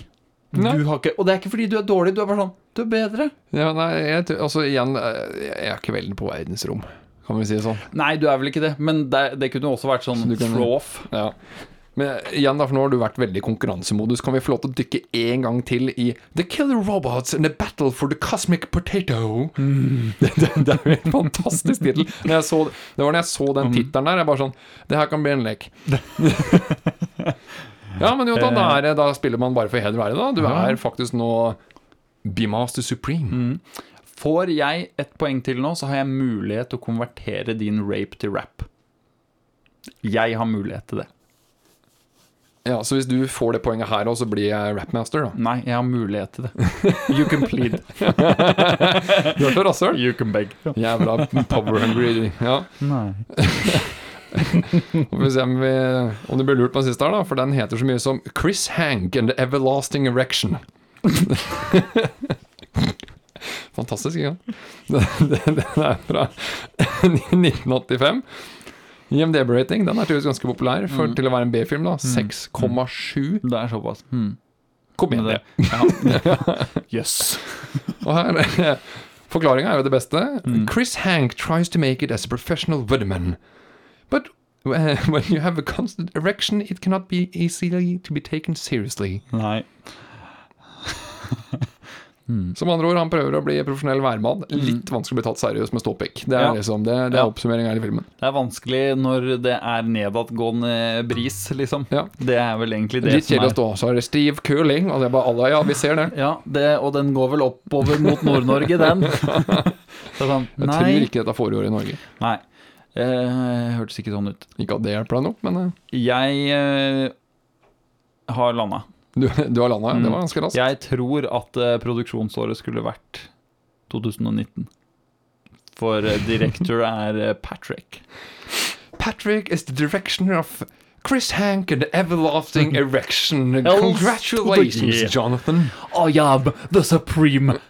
Speaker 1: Nei.
Speaker 2: Du har ikke Og det er ikke fordi du er dårlig, du er bare sånn Du er bedre.
Speaker 1: Ja, nei, jeg, tror- altså, igjen, eh, jeg er ikke veldig på verdensrom, kan vi si det sånn.
Speaker 2: Nei, du er vel ikke det, men det, det kunne også vært sånn
Speaker 1: Så du kunne-
Speaker 2: throw-off.
Speaker 1: Ja. Men igjen, da, for nå har du vært veldig i konkurransemodus. Kan vi få lov til å dykke en gang til i The Killer Robots and the Battle for the Cosmic Potato? Det, det, det er jo en fantastisk tittel. Når jeg så- Det var når jeg så den tittelen der, jeg bare sånn Det her kan bli en lek. ja, men Jonathan, da, er det- da spiller man bare for heder og ære, da. Du er faktisk nå Be Master Supreme.
Speaker 2: Får jeg et poeng til nå, så har jeg mulighet til å konvertere din rape til rap. Jeg har mulighet til det.
Speaker 1: Ja, Så hvis du får det poenget her òg, så blir jeg Rapmaster, da.
Speaker 2: Nei, jeg har mulighet til det. You can plead.
Speaker 1: Du hørte rasshøl?
Speaker 2: You can beg.
Speaker 1: Jævla power hungry. Ja.
Speaker 2: Nei.
Speaker 1: Får vi se om, vi, om det blir lurt på den siste her, da. For den heter så mye som Chris Hank and the Everlasting Erection. Fantastisk, ikke sant? Den, den, den er fra 1985. IMDb-rating den er tydeligvis ganske populær for, til å være en B-film. da 6,7
Speaker 2: Det er såpass. Hmm.
Speaker 1: komedie.
Speaker 2: Yes.
Speaker 1: Og her Forklaringa er jo det beste.
Speaker 2: Mm.
Speaker 1: Chris Hank tries to make it as a professional woodman. But eh, when you have a constant erection, it cannot be easily to be taken seriously.
Speaker 2: Nei. Mm.
Speaker 1: Som andre ord, han prøver å bli profesjonell værmann. Litt vanskelig å bli tatt seriøst med ståpikk. Det er
Speaker 2: Ja.
Speaker 1: liksom, det, det er
Speaker 2: Ja.
Speaker 1: oppsummeringen her i filmen.
Speaker 2: Det er vanskelig når det er nedadgående bris, liksom.
Speaker 1: Ja.
Speaker 2: Det er vel egentlig det
Speaker 1: Litt kjedelig å stå. Så er det stiv kuling, og det er bare alle Ja, vi ser det.
Speaker 2: Ja, det, og den går vel oppover mot Nord-Norge, den. Det er sånn,
Speaker 1: Jeg
Speaker 2: nei.
Speaker 1: tror ikke dette foregår i Norge.
Speaker 2: nei. Eh, hørtes ikke sånn ut.
Speaker 1: Ikke at det hjelper deg noe, men eh,
Speaker 2: Jeg eh, har landa.
Speaker 1: du, du har landa, ja. Det var ganske raskt.
Speaker 2: Jeg tror at eh, produksjonsåret skulle vært 2019. For eh, director er eh, Patrick.
Speaker 1: Patrick is the directioner of Chris Hank and the Everlasting
Speaker 2: Mm-hmm.
Speaker 1: Erection.
Speaker 2: Else
Speaker 1: Congratulations,
Speaker 2: Woodgate.
Speaker 1: Jonathan.
Speaker 2: I am the supreme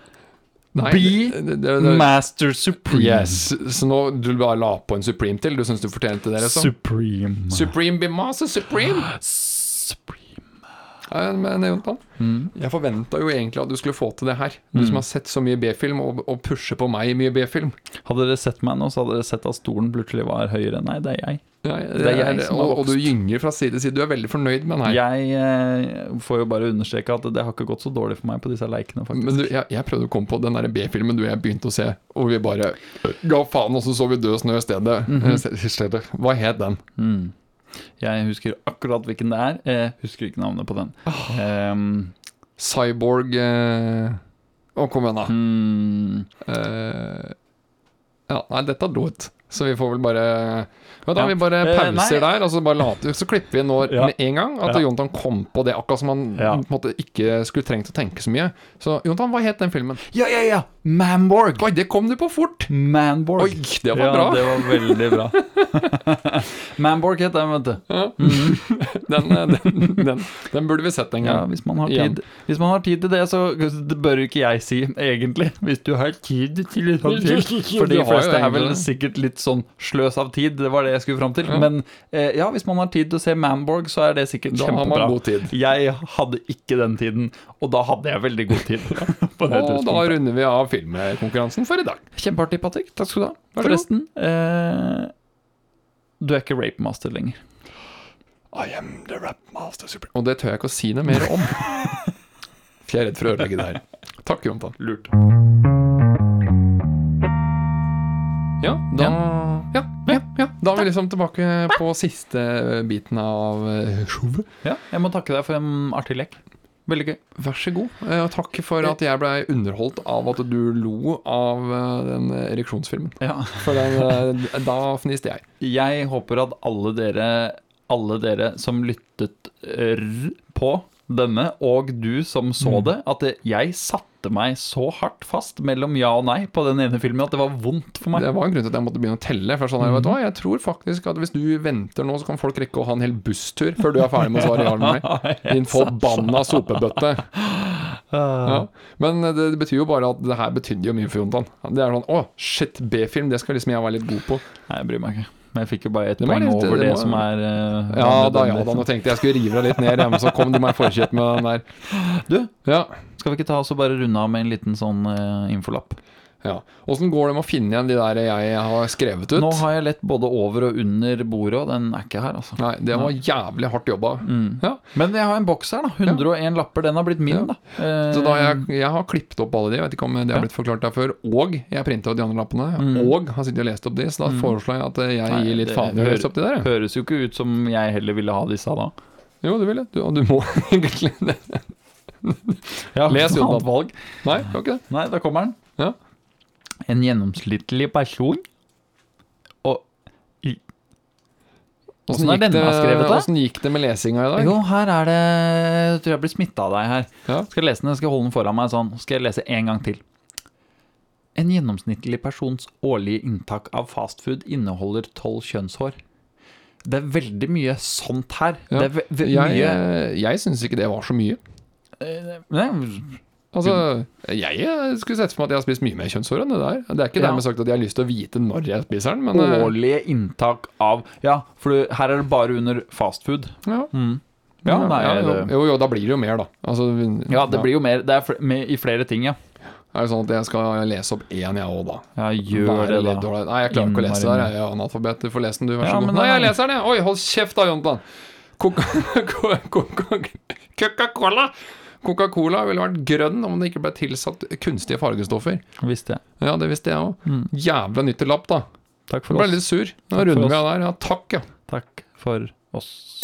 Speaker 1: Nei,
Speaker 2: Be
Speaker 1: det- det- det- det-
Speaker 2: Master Supreme.
Speaker 1: Yes. Så nå du bare la på en Supreme til? Du syns du fortjente det? liksom?
Speaker 2: Supreme.
Speaker 1: Supreme be master supreme!
Speaker 2: Supreme.
Speaker 1: Ja, Men Jonathan,
Speaker 2: Mm.
Speaker 1: jeg forventa jo egentlig at du skulle få til det her. Du som har sett så mye B-film, og, og pusher på meg i mye B-film.
Speaker 2: Hadde dere sett meg nå, så hadde dere sett at stolen plutselig var høyere. Nei, det er jeg.
Speaker 1: Ja, det
Speaker 2: er jeg som har
Speaker 1: og, og du
Speaker 2: vokst.
Speaker 1: gynger fra side til side. Du er veldig fornøyd med den her.
Speaker 2: Jeg eh, får jo bare understreke at det har ikke gått så dårlig for meg på disse leikene, faktisk.
Speaker 1: Men du, jeg, jeg prøvde å komme på den der B-filmen du og jeg begynte å se, og vi bare ga faen, og så så vi Død snø i stedet.
Speaker 2: Mhm.
Speaker 1: Eh, I stedet. Hva het den?
Speaker 2: Mm. Jeg husker akkurat hvilken det er. Eh, husker ikke navnet på den. Ehm,
Speaker 1: Cyborg eh... Å, kom igjen, da.
Speaker 2: mm,
Speaker 1: Eh, Ja, nei, dette er dot. Så vi får vel bare ja, Da
Speaker 2: Ja.
Speaker 1: vi bare
Speaker 2: Eh,
Speaker 1: pauser
Speaker 2: nei.
Speaker 1: der, og så bare later Så klipper vi nå
Speaker 2: Ja.
Speaker 1: med en gang at
Speaker 2: Ja.
Speaker 1: Jontan kom på det, akkurat som han
Speaker 2: Ja.
Speaker 1: på en måte ikke skulle trengt å tenke så mye. Så Jontan, hva het den filmen?
Speaker 2: ja, ja, ja! Manborg!
Speaker 1: Oi, det kom du på fort!
Speaker 2: Manborg.
Speaker 1: Oi, det var
Speaker 2: ja,
Speaker 1: bra.
Speaker 2: det var veldig bra. Manborg het den, vet du.
Speaker 1: Den, eh, den, den, den burde vi sett en
Speaker 2: Ja,
Speaker 1: gang.
Speaker 2: hvis man, har
Speaker 1: Igjen.
Speaker 2: tid, hvis man har tid til det, så det bør jo ikke jeg si, egentlig. Hvis du har tid til en sånn film. For
Speaker 1: Du
Speaker 2: de
Speaker 1: har jo
Speaker 2: fleste er vel
Speaker 1: egentlig det.
Speaker 2: sikkert litt sånn sløs av tid, det var det jeg skulle fram til.
Speaker 1: Ja.
Speaker 2: Men eh, ja, hvis man har tid til å se Manborg, så er det sikkert
Speaker 1: Da har
Speaker 2: kjempebra.
Speaker 1: man god tid.
Speaker 2: Jeg hadde ikke den tiden, og da hadde jeg veldig god tid. På det
Speaker 1: Og da
Speaker 2: tidspunktet.
Speaker 1: runder vi av filmkonkurransen for i dag.
Speaker 2: Kjempeartig, Patrick. Takk skal du ha.
Speaker 1: Vær så god.
Speaker 2: Forresten, eh, du er ikke rapemaster lenger.
Speaker 1: I am the rap master supreme. Og det tør jeg ikke å si noe mer om. For jeg er redd for å ødelegge det her. Takk, Jontan.
Speaker 2: Lurt.
Speaker 1: Ja, da Ja, ja, ja. Da er vi liksom tilbake på siste biten av eh, showet.
Speaker 2: Ja, jeg må takke deg for en artig lek. Veldig gøy.
Speaker 1: Vær så god. eh, Og takk for at jeg ble underholdt av at du lo av eh, den ereksjonsfilmen.
Speaker 2: Ja.
Speaker 1: For den, eh, da fniste jeg.
Speaker 2: Jeg håper at alle dere, alle dere som lyttet eh, r- på denne, og du som så
Speaker 1: Mm.
Speaker 2: det, at det- jeg satte meg så hardt fast mellom ja og nei på den ene filmen at det var vondt for meg.
Speaker 1: Det var en grunn til at jeg måtte begynne å telle. For sånn, her, vet du hva, jeg tror faktisk at hvis du venter nå, så kan folk rekke å ha en hel busstur før du er ferdig med å svare ja eller nei. Din forbanna sopebøtte. Ja. Men det, det betyr jo bare at det her betydde jo mye for Jontan. Det er sånn Å, shit, B-film, det skal liksom jeg være litt god på.
Speaker 2: Nei, jeg bryr meg ikke. Men jeg fikk jo bare ett
Speaker 1: Det var
Speaker 2: poeng
Speaker 1: litt-
Speaker 2: over
Speaker 1: det
Speaker 2: det,
Speaker 1: var-
Speaker 2: som er eh,
Speaker 1: Ja da,
Speaker 2: vanlig
Speaker 1: ja da, nå
Speaker 2: denne-
Speaker 1: tenkte jeg jeg skulle rive deg litt ned, ja, men så kom du meg i forkjøpet med den der.
Speaker 2: Du?
Speaker 1: Ja.
Speaker 2: Skal vi ikke ta oss og bare runde av med en liten sånn eh, infolapp?
Speaker 1: ja. Åssen går det med å finne igjen de der jeg har skrevet ut?
Speaker 2: Nå har jeg lett både over og under bordet, og den er ikke her, altså.
Speaker 1: Nei, Mm. det var jævlig hardt jobba. Ja.
Speaker 2: Men jeg har en boks her, da. 101 lapper. Den har blitt min,
Speaker 1: Ja.
Speaker 2: da. Eh,
Speaker 1: Så da har jeg, jeg har klippet opp alle de, jeg vet ikke om det har blitt forklart der før. Og jeg printa ut de andre lappene, og har sittet og lest opp de, så da foreslår jeg at eh, jeg
Speaker 2: Mm. Nei,
Speaker 1: gir litt
Speaker 2: det
Speaker 1: faen i å
Speaker 2: hører-
Speaker 1: lese opp de der. jeg.
Speaker 2: Høres jo ikke ut som jeg heller ville ha disse da.
Speaker 1: Jo, du vil det. Du, og du må egentlig det.
Speaker 2: Ja,
Speaker 1: Les,
Speaker 2: faen,
Speaker 1: Jonathan.
Speaker 2: valg.
Speaker 1: Nei, du har ikke det.
Speaker 2: Nei, da kommer den.
Speaker 1: Ja.
Speaker 2: En gjennomsnittlig person. Og Hvordan
Speaker 1: Åssen
Speaker 2: er
Speaker 1: gikk,
Speaker 2: denne
Speaker 1: det-
Speaker 2: skrevet, da?
Speaker 1: åssen gikk det med lesinga i dag?
Speaker 2: Jo, her er det Jeg tror jeg blir smitta av deg her.
Speaker 1: Ja.
Speaker 2: Skal jeg lese den, skal jeg holde den foran meg sånn. Skal jeg lese en gang til. En gjennomsnittlig persons årlige inntak av fastfood inneholder tolv kjønnshår. Det er veldig mye sånt her.
Speaker 1: Ja.
Speaker 2: Det er ve ve
Speaker 1: Jeg,
Speaker 2: mye
Speaker 1: eh, jeg syns ikke det var så mye.
Speaker 2: Nei, Mm.
Speaker 1: Altså, jeg eh, skulle sett for meg at jeg har spist mye mer kjønnshår enn det der. Det er ikke
Speaker 2: Ja.
Speaker 1: dermed sagt at jeg har lyst til å vite når jeg spiser den, men eh,
Speaker 2: årlige inntak av Ja, for du- her er det bare under fastfood.
Speaker 1: ja.
Speaker 2: Mm. Ja, nei,
Speaker 1: jo,
Speaker 2: det-
Speaker 1: jo, jo, da blir det jo mer, da. Altså,
Speaker 2: Ja, det blir jo mer Det er fl med, i flere ting, ja.
Speaker 1: Er det sånn at jeg skal lese opp én, jeg òg, da?
Speaker 2: Ja, gjør
Speaker 1: Være
Speaker 2: det,
Speaker 1: litt
Speaker 2: da.
Speaker 1: dårlig. Nei, jeg klarer ikke å lese det
Speaker 2: Innmari
Speaker 1: her. Jeg er analfabet. Du får lese den, du. Vær så
Speaker 2: Ja,
Speaker 1: god.
Speaker 2: men
Speaker 1: Nei, jeg
Speaker 2: den er-
Speaker 1: leser den, jeg. Oi, hold kjeft da, Jontan. Coca- Coca- Coca-Cola Coca-Cola ville vært grønn om det ikke ble tilsatt kunstige fargestoffer.
Speaker 2: Visste jeg.
Speaker 1: Ja, det visste jeg òg. Jævla nyttig lapp, da.
Speaker 2: Takk Mm. for
Speaker 1: Jeg ble
Speaker 2: oss.
Speaker 1: litt sur.
Speaker 2: for
Speaker 1: Nå runder
Speaker 2: oss.
Speaker 1: vi av der. Ja, takk, ja.
Speaker 2: Takk for oss.